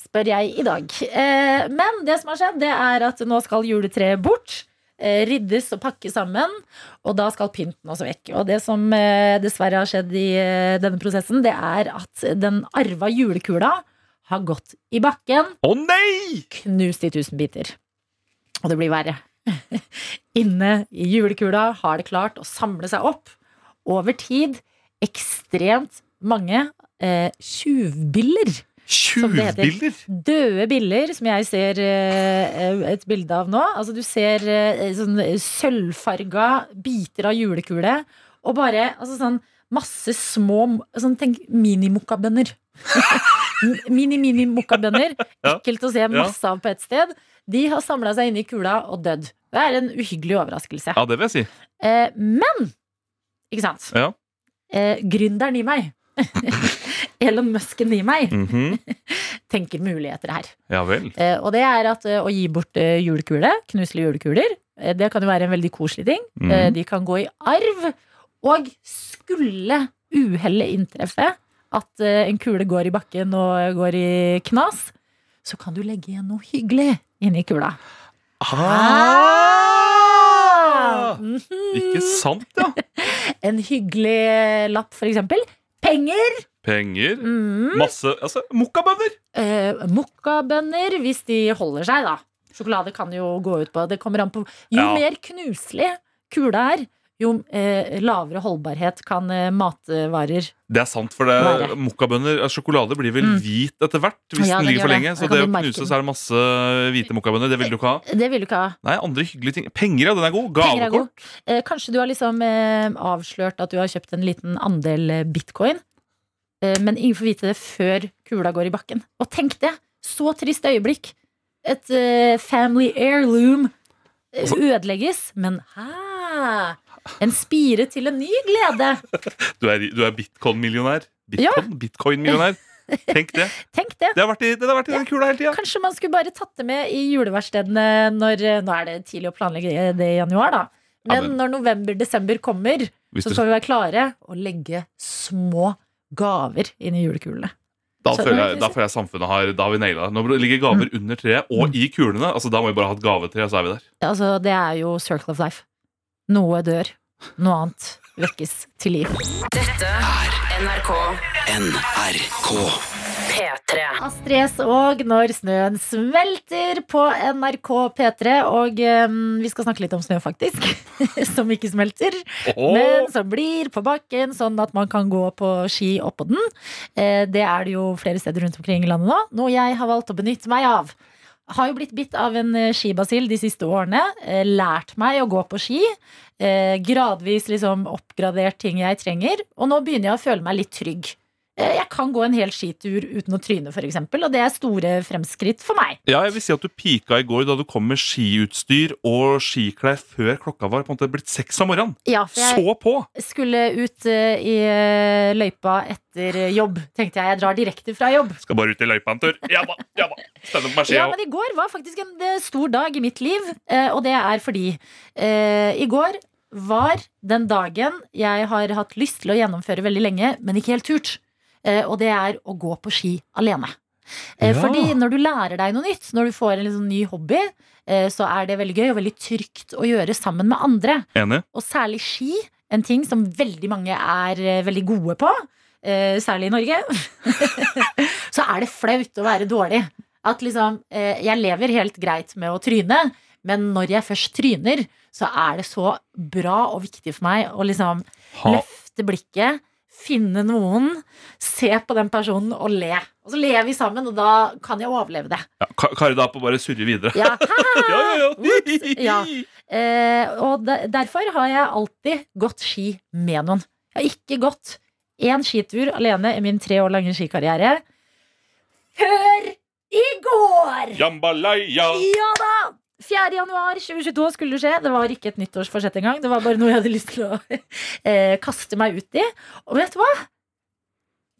Speaker 3: Spør jeg i dag. Eh, Men det som har skjedd, det er at nå skal juletreet bort. eh, Ryddes og pakkes sammen, og da skal pynten også vekk. Og det som eh, dessverre har skjedd i eh, denne prosessen, det er at den arva julekula har gått i bakken,
Speaker 4: Å nei!
Speaker 3: knust i tusen biter. Og det blir verre. Inne i julekula har det klart å samle seg opp over tid ekstremt mange eh, tjuvbiller.
Speaker 4: Tjuvbilder!
Speaker 3: Døde biller, som jeg ser eh, et bilde av nå. Altså, du ser eh, sånn sølvfarga biter av julekule. Og bare altså, sånn masse små sånn, Tenk mini-mokkabønner. Mini-mini-mokkabønner.
Speaker 4: Ja.
Speaker 3: Ekkelt å se masse av på ett sted. De har samla seg inni kula og dødd. Det er en uhyggelig overraskelse.
Speaker 4: Ja, det vil jeg si.
Speaker 3: Eh, men Ikke sant?
Speaker 4: Ja.
Speaker 3: Eh, gründeren i meg. Elon Musken i meg
Speaker 4: Mhm.
Speaker 3: tenker muligheter her.
Speaker 4: Ja vel.
Speaker 3: Eh, Og det er at eh, å gi bort eh, julekule, knuselige julekuler, eh, det kan jo være en veldig koselig ting.
Speaker 4: Mm.
Speaker 3: Eh, De kan gå i arv. Og skulle uhellet inntreffe at eh, en kule går i bakken og eh, går i knas, så kan du legge igjen noe hyggelig inni kula.
Speaker 4: Ah!
Speaker 3: Mhm.
Speaker 4: Ikke sant, ja.
Speaker 3: En hyggelig eh, lapp, for eksempel. Penger!
Speaker 4: Penger.
Speaker 3: Mm.
Speaker 4: Masse altså, mokkabønner!
Speaker 3: Eh, Mokkabønner, hvis de holder seg, da. Sjokolade kan jo gå ut på Det kommer an på Jo
Speaker 4: Ja.
Speaker 3: mer knuselig kula er, jo eh, lavere holdbarhet kan eh, matvarer
Speaker 4: Det er sant, for
Speaker 3: Være.
Speaker 4: det mokkabønner eh, Sjokolade blir vel
Speaker 3: Mm.
Speaker 4: hvit etter hvert hvis
Speaker 3: Ja,
Speaker 4: den
Speaker 3: den
Speaker 4: ligger for
Speaker 3: gjør det.
Speaker 4: lenge. Så
Speaker 3: Det kan
Speaker 4: det å
Speaker 3: bli merken.
Speaker 4: knuse, så er det masse hvite mokkabønner. Det vil du ikke ha.
Speaker 3: Det vil du ikke ha.
Speaker 4: Nei, andre hyggelige ting. Penger, ja. Den er god.
Speaker 3: Penger er god.
Speaker 4: Gavekort.
Speaker 3: Eh, kanskje du har liksom eh, avslørt at du har kjøpt en liten andel eh, bitcoin, eh, men ingen får vite det før kula går i bakken. Og tenk det! Så trist øyeblikk. Et eh, family heirloom eh,
Speaker 4: Altså-
Speaker 3: ødelegges, men hæ? En spire til en ny glede.
Speaker 4: Du er, du er bitcoin-millionær.
Speaker 3: Ja.
Speaker 4: Bitcoin, Bitcoin-millionær. Tenk det.
Speaker 3: Tenk det.
Speaker 4: Det har vært i, det har vært i den kula hele tida.
Speaker 3: Kanskje man skulle bare tatt det med i juleverkstedene når eh, Nå er det tidlig å planlegge det i januar, da. Men
Speaker 4: men-
Speaker 3: når november-desember kommer,
Speaker 4: Hvis
Speaker 3: så
Speaker 4: dere-
Speaker 3: skal vi være klare og legge små gaver inn i julekulene.
Speaker 4: Da
Speaker 3: Så- Mm.
Speaker 4: føler, jeg, da føler jeg samfunnet har Da har vi naila det. Når det ligger gaver under treet og i kulene, altså da må vi bare ha et gavetre, så er vi der.
Speaker 3: Altså, det er jo circle of life. Noe dør, noe annet vekkes til liv.
Speaker 2: Dette er NRK
Speaker 1: NRK.
Speaker 2: P3.
Speaker 3: Astrid S. og Når snøen smelter på NRK P3. Og eh, vi skal snakke litt om snø, faktisk. som ikke smelter,
Speaker 4: Åh!
Speaker 3: men som blir på bakken, sånn at man kan gå på ski oppå den. Eh, det er det jo flere steder rundt omkring i landet nå. Noe jeg har valgt å benytte meg av. Har jo blitt bitt av en eh, skibasill de siste årene. eh, Lært meg å gå på ski. eh, Gradvis liksom oppgradert ting jeg trenger. Og nå begynner jeg å føle meg litt trygg. Eh, Jeg kan gå en hel skitur uten å tryne, f.eks., og det er store fremskritt for meg.
Speaker 4: Ja, jeg vil si at du pika i går da du kom med skiutstyr og skiklær før klokka var på en måte blitt seks om morgenen.
Speaker 3: Ja, for jeg
Speaker 4: Så på!
Speaker 3: skulle ut eh, i eh, løypa etter eh, jobb, tenkte jeg. Jeg drar direkte fra jobb.
Speaker 4: Skal bare ut i løypa en tur. Ja da, ja da. Spennende på meg skia
Speaker 3: Ja, men i går var faktisk en eh, stor dag i mitt liv, eh, og det er fordi eh, I går var den dagen jeg har hatt lyst til å gjennomføre veldig lenge, men ikke helt turt. Eh, og det er å gå på ski alene. Eh,
Speaker 4: Ja.
Speaker 3: Fordi når du lærer deg noe nytt, når du får en liksom ny hobby, eh, så er det veldig gøy og veldig trygt å gjøre sammen med andre.
Speaker 4: Enig?
Speaker 3: Og særlig ski, en ting som veldig mange er eh, veldig gode på, eh, særlig i Norge, så er det flaut å være dårlig. At liksom, eh, jeg lever helt greit med å tryne, men når jeg først tryner, så er det så bra og viktig for meg å liksom
Speaker 4: Ha.
Speaker 3: løfte blikket, finne noen, se på den personen og le. Og så ler vi sammen, og da kan jeg overleve det.
Speaker 4: Ja, Ka- Kari da på å bare surre videre.
Speaker 3: Ja,
Speaker 4: Ja, ja, ja.
Speaker 3: ja. Eh, og de, derfor har jeg alltid gått ski med noen. Jeg har ikke gått én skitur alene i min tre år lange skikarriere. Før i går!
Speaker 4: Jambalaya!
Speaker 3: Ja da! 4. januar 2022 skulle det skje. Det var ikke et nyttårsforsett engang. Det var bare noe jeg hadde lyst til å eh, kaste meg ut i. Og vet du hva?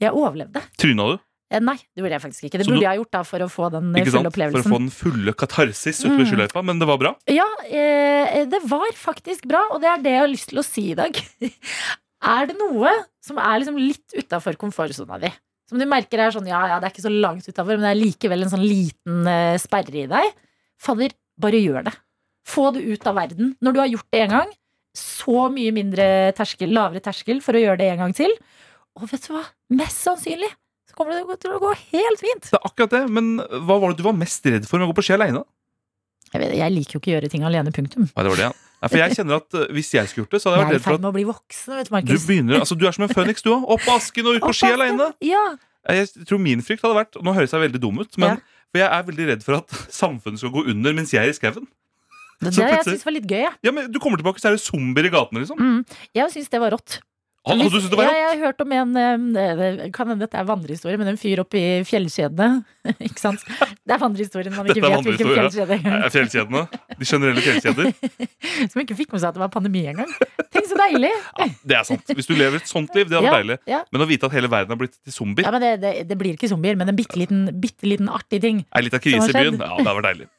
Speaker 3: Jeg overlevde.
Speaker 4: Tryna du?
Speaker 3: Eh, nei, det gjorde jeg faktisk ikke. Det
Speaker 4: Så
Speaker 3: burde
Speaker 4: du-
Speaker 3: jeg ha gjort da for å få den eh,
Speaker 4: Ikke sant?
Speaker 3: fulle
Speaker 4: For å
Speaker 3: opplevelsen.
Speaker 4: få den fulle katarsis ute ved
Speaker 3: Mm.
Speaker 4: skiløypa. Men det var bra.
Speaker 3: Ja, eh, det var faktisk bra, og det er det jeg har lyst til å si i dag. er det noe som er liksom litt utafor komfortsona di? Som du merker er sånn ja, ja, det er ikke så langt utafor, men det er likevel en sånn liten eh, sperre i deg. Fader, bare gjør det. Få det ut av verden. Når du har gjort det én gang, så mye mindre terskel, lavere terskel for å gjøre det en gang til. Og vet du hva? Mest sannsynlig så kommer det til å gå helt fint.
Speaker 4: Det er akkurat det, Men hva var det du var mest redd for med å gå på ski aleine?
Speaker 3: Jeg, vet, jeg liker jo ikke å gjøre ting alene, punktum.
Speaker 4: Nei, det var det, ja. Nei, for jeg kjenner at eh, hvis jeg skulle gjort det, så
Speaker 3: Jeg
Speaker 4: hadde jeg
Speaker 3: er
Speaker 4: vært
Speaker 3: i
Speaker 4: redd for
Speaker 3: ferd
Speaker 4: at
Speaker 3: med å bli voksen, vet du,
Speaker 4: du
Speaker 3: Markus.
Speaker 4: begynner Altså, du er som en føniks, du òg. Opp av asken og ut på ski
Speaker 3: Opp av
Speaker 4: aleine.
Speaker 3: asken. Ja,
Speaker 4: Jeg tror min frykt hadde vært Nå høres jeg veldig dum ut, men for jeg er veldig redd for at samfunnet skal gå under mens jeg er i skauen.
Speaker 3: Det,
Speaker 4: Så
Speaker 3: det jeg
Speaker 4: plutselig-
Speaker 3: syns var litt gøy. jeg.
Speaker 4: Ja, men du kommer tilbake, så er det zombier i gatene, liksom.
Speaker 3: Mm. Jeg syns det var rått.
Speaker 4: Hadde du syntes det var
Speaker 3: Ja, jeg har hørt om en um, det kan hende dette er vandrehistorie, men en fyr oppe i fjellkjedene. ikke sant? Det er vandrehistorien man ikke
Speaker 4: Dette er
Speaker 3: vet hvilken
Speaker 4: vandrehistorie,
Speaker 3: fjellkjede engang.
Speaker 4: Nei, Fjellkjedene. De generelle fjellkjeder.
Speaker 3: Som ikke fikk med seg at det var pandemi engang. Tenk så deilig!
Speaker 4: Det er sant. Hvis du lever et sånt liv, det hadde vært deilig.
Speaker 3: ja.
Speaker 4: Men å vite at hele verden har blitt til zombier,
Speaker 3: ja, men det, det, det blir ikke zombier, men en bitte liten, bitte liten artig ting.
Speaker 4: er litt av krise
Speaker 3: Som
Speaker 4: i
Speaker 3: har
Speaker 4: byen.
Speaker 3: skjedd.
Speaker 4: Ja, det hadde vært deilig.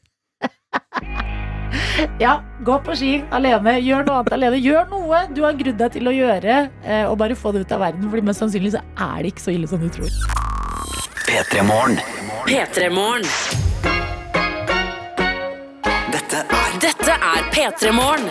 Speaker 3: Ja, gå på ski alene. Gjør noe annet alene. Gjør noe du har grudd deg til å gjøre, eh, og bare få det ut av verden. Fordi mest sannsynlig så er det ikke så ille som du tror.
Speaker 1: P3 Morgen.
Speaker 2: P3 Morgen.
Speaker 1: Dette er
Speaker 2: Dette er P3 Morgen.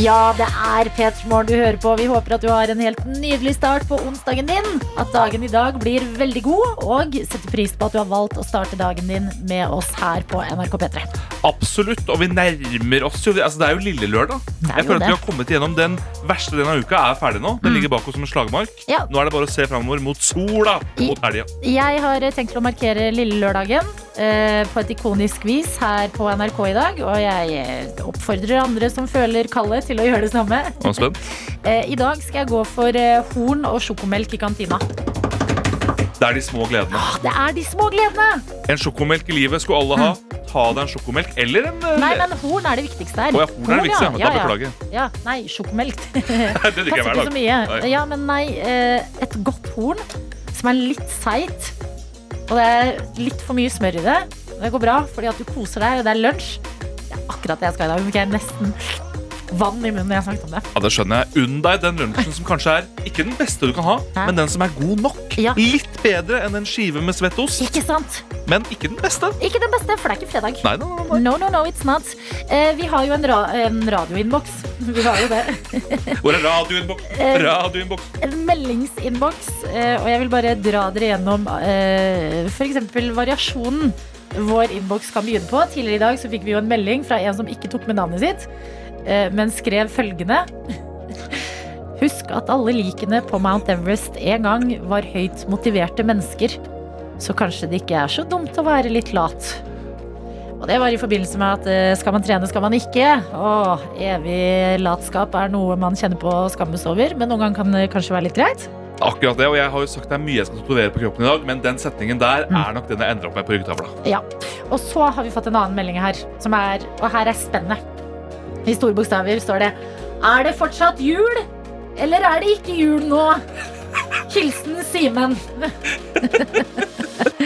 Speaker 3: Ja, det er P3 Morgen du hører på. Vi håper at du har en helt nydelig start på onsdagen din. At dagen i dag blir veldig god, og setter pris på at du har valgt å starte dagen din med oss her på NRK P3.
Speaker 4: Absolutt. Og vi nærmer oss jo altså, Det er jo lille lørdag.
Speaker 3: Det
Speaker 4: Jeg
Speaker 3: er jo
Speaker 4: føler at vi
Speaker 3: det. Mm.
Speaker 4: har kommet igjennom den verste delen av uka. er ferdig Nå Den ligger bak oss som en slagmark.
Speaker 3: Ja.
Speaker 4: Nå er det bare å se framover mot sola og
Speaker 3: I-
Speaker 4: mot helga.
Speaker 3: Jeg har tenkt å markere lille lørdagen eh, på et ikonisk vis her på NRK i dag. Og jeg eh, oppfordrer andre som føler kallet til å gjøre det samme.
Speaker 4: Er du spent?
Speaker 3: Eh, I dag skal jeg gå for eh, horn og sjokomelk i kantina.
Speaker 4: Det er de små gledene.
Speaker 3: Det er de små gledene!
Speaker 4: En sjokomelk i livet skulle alle ha. Ta deg en sjokomelk eller en eh,
Speaker 3: Mm. Nei, men horn er det viktigste her.
Speaker 4: Å ja, horn er det viktigste.
Speaker 3: ja,
Speaker 4: Da
Speaker 3: ja.
Speaker 4: beklager jeg.
Speaker 3: Ja, nei, sjokomelk.
Speaker 4: Det drikker jeg
Speaker 3: Passer
Speaker 4: hver
Speaker 3: ikke så
Speaker 4: dag.
Speaker 3: mye.
Speaker 4: Nei.
Speaker 3: Ja, men nei, eh, et godt horn som er litt seigt, og det er litt for mye smør i det. Men Det går bra, fordi at du koser deg, og det er lunsj. Det er akkurat det jeg skal i dag. men ikke jeg nesten vann i munnen når jeg snakket om det.
Speaker 4: Ja, det skjønner jeg. Unn deg den lunsjen som kanskje er ikke den beste du kan ha,
Speaker 3: Hæ?
Speaker 4: men den som er god nok.
Speaker 3: Ja.
Speaker 4: Litt bedre enn en skive med svett ost,
Speaker 3: Ikke sant?
Speaker 4: men ikke den beste.
Speaker 3: Ikke den beste, for det er ikke fredag.
Speaker 4: Nei, nei, nei, nei.
Speaker 3: No, no, no, it's not. Eh, vi har jo en, ra en radioinnboks. Vi har jo det.
Speaker 4: Hvor er radioinnboks?
Speaker 3: Eh.
Speaker 4: Radioinnboks.
Speaker 3: En meldingsinnboks. Eh, og jeg vil bare dra dere gjennom eh, f.eks. variasjonen vår innboks kan begynne på. Tidligere i dag så fikk vi jo en melding fra en som ikke tok med navnet sitt, eh, men skrev følgende. Husk at alle likene på Mount Everest en gang var høyt motiverte mennesker. Så kanskje det ikke er så dumt å være litt lat. Og det var i forbindelse med at eh, skal man trene, skal man ikke. Åh, evig latskap er noe man kjenner på og skammes over, men noen ganger kan det kanskje være litt greit.
Speaker 4: Akkurat det, og jeg har jo sagt det er mye jeg skal tatovere på kroppen i dag, men den setningen der
Speaker 3: Mm.
Speaker 4: er nok den jeg endrer opp med på ryggtavla.
Speaker 3: Ja. Og så har vi fått en annen melding her, som er, og her er spennet. I store bokstaver står det Er det fortsatt jul, eller er det ikke jul nå? Hilsen Simen.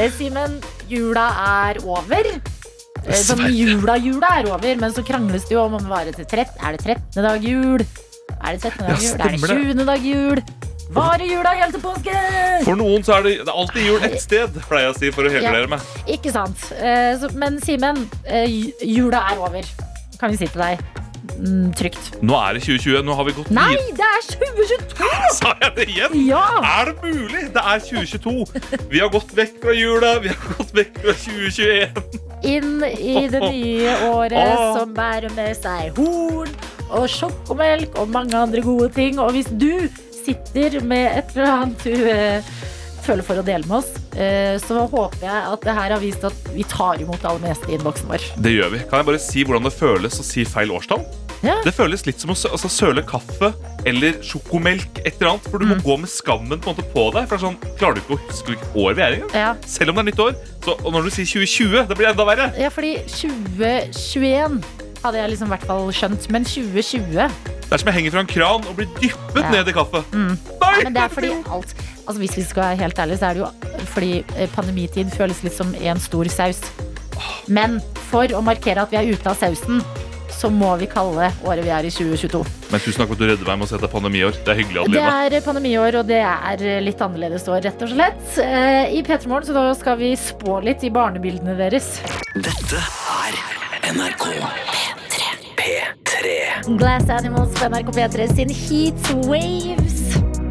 Speaker 3: Eh, Simen, jula er over. Eh, Sånn
Speaker 4: Dessverre.
Speaker 3: jula, jula er over, men så krangles det jo om om det varer til 13. Er det 13. dag jul? Er det 13. dag jul?
Speaker 4: Ja,
Speaker 3: Er det
Speaker 4: stemmer det.
Speaker 3: 20. dag jul? Varer jula helt til påske?
Speaker 4: For noen så er det, det er alltid jul ett sted, pleier jeg å si for å
Speaker 3: Ja.
Speaker 4: helgardere meg.
Speaker 3: Ikke sant. Eh, så- Men Simen, eh, ju- jula er over. Kan vi si til deg. Mm, trygt.
Speaker 4: Nå er det 2020, nå har vi gått
Speaker 3: Nei,
Speaker 4: videre.
Speaker 3: det er 2022!
Speaker 4: Sa jeg det igjen?
Speaker 3: Ja!
Speaker 4: Er det mulig? Det er 2022. Vi har gått vekk fra jula, vi har gått vekk fra 2021.
Speaker 3: Inn i det nye året
Speaker 4: Åh.
Speaker 3: som bærer med seg horn og sjokomelk og mange andre gode ting. Og hvis du sitter med et eller annet du eh, føler for å dele med oss, eh, så håper jeg at det her har vist at vi tar imot alle med gjester i innboksen vår.
Speaker 4: Det gjør vi. Kan jeg bare si hvordan det føles å si feil årstall?
Speaker 3: Ja.
Speaker 4: Det føles litt som å sø- altså, søle kaffe eller sjokomelk, et eller annet. For du må
Speaker 3: Mm.
Speaker 4: gå med skammen på, en måte på deg. For det er sånn, klarer du ikke å huske hvilket år vi er i engang?
Speaker 3: Ja.
Speaker 4: Selv om det er nytt år. Så, og når du sier 2020, det blir enda verre.
Speaker 3: Ja, fordi 2021 hadde jeg liksom i hvert fall skjønt, men 2020 ja,
Speaker 4: Det er som jeg henger fra en kran og blir dyppet
Speaker 3: Ja. Mm.
Speaker 4: ned i kaffe. Nei!
Speaker 3: Men det er fordi alt Altså Hvis vi skal være helt ærlige, så er det jo fordi eh, pandemitid føles litt som en stor saus. Men for å markere at vi er ute av sausen, så må vi kalle året vi er i 2022.
Speaker 4: Men tusen takk for at du redder meg med å si at det er pandemiår. Det er hyggelig,
Speaker 3: Det
Speaker 4: Adelina.
Speaker 3: er pandemiår, og det er litt annerledes år, rett og slett. Eh, I P3 Morgen, så da skal vi spå litt i barnebildene deres.
Speaker 1: Dette er NRK P3.
Speaker 3: Glass Animals på NRK P3 sin Heat Waves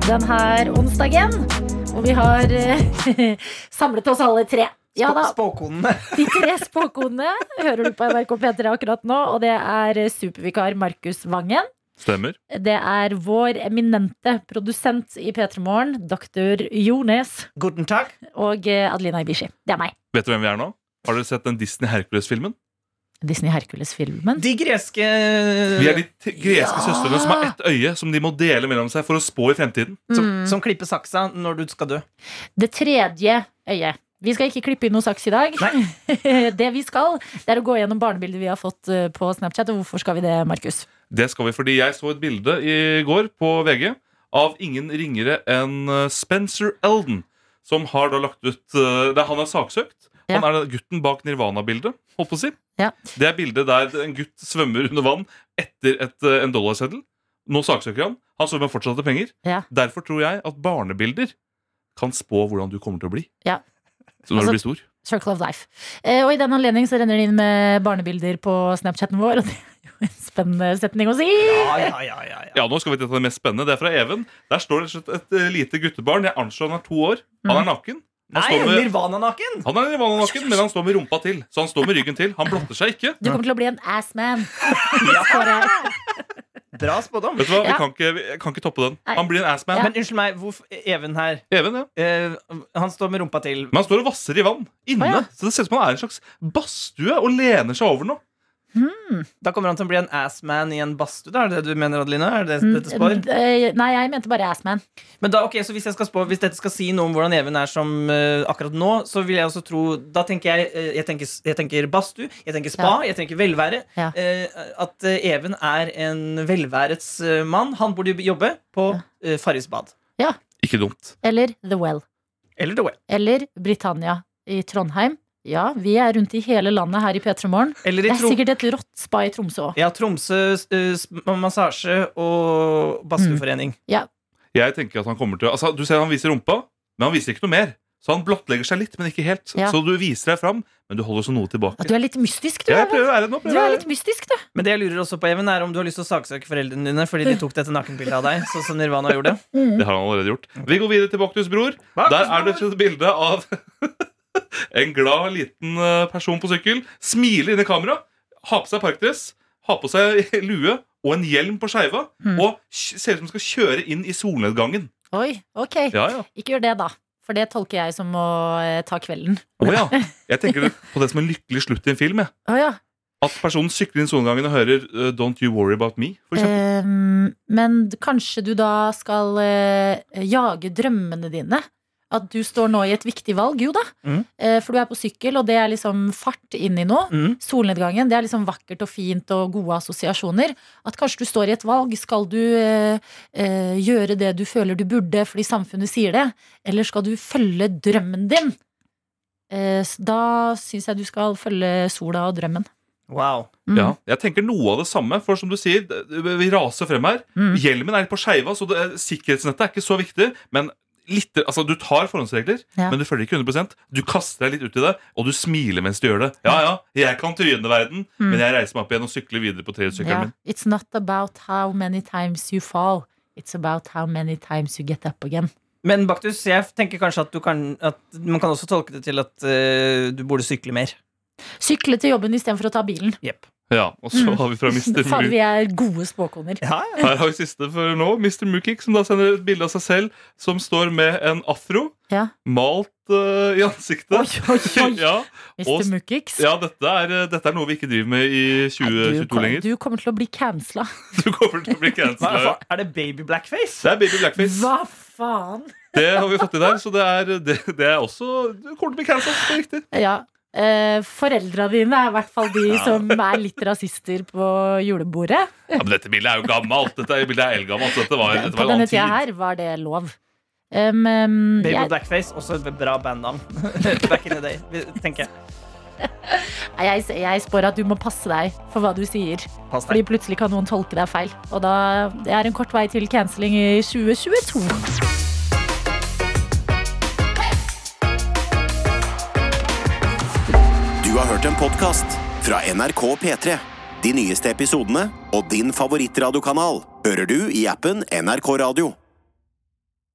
Speaker 3: den her onsdagen. Og vi har eh, samlet oss alle tre. Ja da,
Speaker 5: Spåkonene.
Speaker 3: De tre spåkonene hører du på NRK P3 akkurat nå. Og det er supervikar Markus Vangen.
Speaker 4: Stemmer.
Speaker 3: Det er vår eminente produsent i P3 Morgen, doktor Jones.
Speaker 5: Guten takk.
Speaker 3: Og eh, Adelina Ibishi. Det er meg.
Speaker 4: Vet du hvem vi er nå? Har dere sett den Disney Hercules-filmen?
Speaker 3: Disney Hercules-filmen.
Speaker 5: De greske
Speaker 4: Vi er de t- greske søstrene som har ett øye som de må dele mellom seg for å spå i fremtiden.
Speaker 5: som,
Speaker 3: Mm.
Speaker 5: som klipper saksa når du skal dø.
Speaker 3: Det tredje øyet. Vi skal ikke klippe inn noe saks i dag. det vi skal, det er å gå gjennom barnebilder vi har fått eh, på Snapchat. Og hvorfor skal vi det, Markus?
Speaker 4: Det skal vi, fordi jeg så et bilde i går på VG av ingen ringere enn eh, Spencer Elden, som har da lagt ut eh, det, Han er saksøkt.
Speaker 3: Ja.
Speaker 4: Han er den gutten bak Nirvana-bildet. holdt på å si.
Speaker 3: Ja.
Speaker 4: Det er bildet der en gutt svømmer under vann etter et, eh, en dollarseddel. Nå saksøker han. Han svømmer fortsatt etter penger.
Speaker 3: Ja.
Speaker 4: Derfor tror jeg at barnebilder kan spå hvordan du kommer til å bli.
Speaker 3: Ja.
Speaker 4: Så når
Speaker 3: Altså-
Speaker 4: du blir stor.
Speaker 3: Circle of Life. Eh, og i den anledning så renner det inn med barnebilder på Snapchaten vår, og det er jo en spennende setning å si.
Speaker 5: Ja, ja, ja, ja, ja.
Speaker 4: Ja, nå skal vi til et av det mest spennende. Det er fra Even. Der står det rett og slett et eh, lite guttebarn. Jeg anslår han er to år. Han
Speaker 3: Mm.
Speaker 4: er naken. Han
Speaker 5: Nei,
Speaker 4: står med-
Speaker 5: Nirvana naken!
Speaker 4: Han er nirvana naken, men han står med rumpa til. Så han står med ryggen til. Han blotter seg ikke.
Speaker 3: Du kommer til å bli en assman.
Speaker 5: Ja.
Speaker 3: Bare-
Speaker 5: Bra spådom.
Speaker 4: Vet du hva? Vi
Speaker 3: Ja.
Speaker 4: kan ikke, vi kan ikke toppe den.
Speaker 3: Nei.
Speaker 4: Han blir en assman.
Speaker 5: Men unnskyld meg, hvorfor Even her.
Speaker 4: Even, ja.
Speaker 5: eh, han står med rumpa til.
Speaker 4: Men han står og vasser i vann inne.
Speaker 3: Å, ja.
Speaker 4: Så det ser ut som han er en slags badstue og lener seg over noe.
Speaker 5: Da kommer han til å bli en assman i en badstue. da, Er det det du mener, Adelina? Er det dette spår?
Speaker 3: Mm, eh, Nei, jeg mente bare assman.
Speaker 5: Men da, ok, så hvis, jeg skal spå, hvis dette skal si noe om hvordan Even er som eh, akkurat nå, så vil jeg også tro Da tenker jeg eh, jeg, tenker, jeg tenker badstue, jeg tenker spa, jeg tenker velvære.
Speaker 3: Ja.
Speaker 5: eh, at eh, Even er en velværets eh, mann. Han burde jobbe på eh, Farris bad.
Speaker 4: Ikke dumt.
Speaker 3: Eller The Well.
Speaker 5: Eller The Well.
Speaker 3: Eller Britannia i Trondheim. Ja, vi er rundt i hele landet her i P3 Morgen.
Speaker 5: Eller i
Speaker 3: Det er
Speaker 5: Trom
Speaker 3: sikkert et rått spa i Tromsø òg.
Speaker 5: ja, Tromsø eh, s- massasje og
Speaker 3: Mm.
Speaker 5: badstueforening.
Speaker 4: Jeg tenker at han kommer til å- Altså, Du ser han viser rumpa, men han viser ikke noe mer. Så han blottlegger seg litt, men ikke helt.
Speaker 3: Ja.
Speaker 4: Så du viser deg fram, men du holder så noe tilbake.
Speaker 3: Du er litt mystisk, du.
Speaker 4: Ja, jeg
Speaker 3: Even.
Speaker 4: prøver å være det nå.
Speaker 3: Du
Speaker 4: Prøver. å
Speaker 3: er
Speaker 4: være
Speaker 3: litt mystisk, du.
Speaker 5: Men det jeg lurer også på, Even, er om du har lyst til å saksøke foreldrene dine fordi de tok dette nakenbildet av deg, sånn som Nirvana gjorde.
Speaker 4: det. Det har han allerede gjort. Vi går videre til Boktus bror. Der er det et bilde av en glad, liten eh, person på sykkel. Smiler inn i kamera. Har på seg parkdress, har på seg lue og en hjelm på skeiva.
Speaker 3: Mm.
Speaker 4: Og kj- ser ut som han skal kjøre inn i solnedgangen.
Speaker 3: Oi, ok.
Speaker 4: Ja, ja.
Speaker 3: Ikke gjør det, da. For det tolker jeg som å eh, ta kvelden.
Speaker 4: Å, ja. Jeg tenker på det som en lykkelig slutt i en film. Jeg.
Speaker 3: Å ja.
Speaker 4: At personen sykler inn solnedgangen og hører eh, 'Don't You Worry About Me'. For eksempel.
Speaker 3: Ehm, men d- kanskje du da skal eh, jage drømmene dine? At du står nå i et viktig valg? Jo da.
Speaker 4: Mm.
Speaker 5: Mhm.
Speaker 3: Eh, for du er på sykkel, og det er liksom fart inn i noe.
Speaker 5: Mm.
Speaker 3: Solnedgangen, det er liksom vakkert og fint og gode assosiasjoner. At kanskje du står i et valg. Skal du eh, eh, gjøre det du føler du burde fordi samfunnet sier det, eller skal du følge drømmen din? Eh, s- da syns jeg du skal følge sola og drømmen.
Speaker 5: Wow.
Speaker 3: Mm.
Speaker 4: Ja, jeg tenker noe av det samme, for som du sier, d- vi raser frem her.
Speaker 3: Mm.
Speaker 4: Hjelmen er litt på skeiva, så det, eh, sikkerhetsnettet er ikke så viktig. Men litt, altså, du tar forhåndsregler,
Speaker 3: Ja.
Speaker 4: men du følger ikke 100 Du kaster deg litt ut i det, og du smiler mens du gjør det. Ja, ja, jeg kan tryne verden,
Speaker 3: Mm.
Speaker 4: men jeg reiser meg opp igjen og sykler videre på
Speaker 3: Ja.
Speaker 4: trehjulssykkelen min.
Speaker 3: It's not about how many times you fall. It's about how many times you get up again.
Speaker 5: Men Baktus, jeg tenker kanskje at, du kan, at man kan også tolke det til at eh, du burde sykle mer.
Speaker 3: Sykle til jobben istedenfor å ta bilen.
Speaker 4: Ja, og så
Speaker 3: Mm.
Speaker 4: har vi fra Mr.
Speaker 3: Fader,
Speaker 4: Mook.
Speaker 3: vi er gode spåkoner.
Speaker 5: Ja,
Speaker 4: Her har vi siste for nå. Mr. Mookik, som da sender et bilde av seg selv, som står med en afro
Speaker 3: Ja.
Speaker 4: malt eh, i ansiktet.
Speaker 3: Oi, oi, oi.
Speaker 4: ja, Og-
Speaker 3: Mr. Mukkix.
Speaker 4: ja dette, er, eh, dette er noe vi ikke driver med i
Speaker 3: Nei, du,
Speaker 4: 2022 lenger.
Speaker 3: du kommer til å bli cancela.
Speaker 4: Du kommer til å bli
Speaker 5: Hva,
Speaker 4: cancela.
Speaker 5: hva- er det baby blackface?
Speaker 4: Det er baby blackface.
Speaker 3: Hva faen?
Speaker 4: Det har vi fått i der, så det er, det, det er også Du kommer til å bli cancela. Det er riktig.
Speaker 3: Ja. Eh, Foreldra dine er i hvert fall de som er litt rasister på julebordet.
Speaker 4: Ja, men dette bildet er jo gammelt. Dette bildet er eldgammelt. så Dette var, dette
Speaker 3: På
Speaker 4: var en
Speaker 3: denne
Speaker 4: annen
Speaker 3: tida
Speaker 4: tid.
Speaker 3: her var det lov. Um, um,
Speaker 5: Baby
Speaker 3: jeg,
Speaker 5: blackface, også et bra bandnavn. Back in the day, vi- tenker jeg.
Speaker 3: jeg, jeg spår at du må passe deg for hva du sier.
Speaker 5: Pass
Speaker 3: Fordi
Speaker 5: deg.
Speaker 3: plutselig kan noen tolke deg feil. Og da det er en kort vei til canceling i 2022.
Speaker 1: Du har hørt en podcast fra NRK P3. De nyeste episodene og din favorittradiokanal hører du i appen NRK Radio.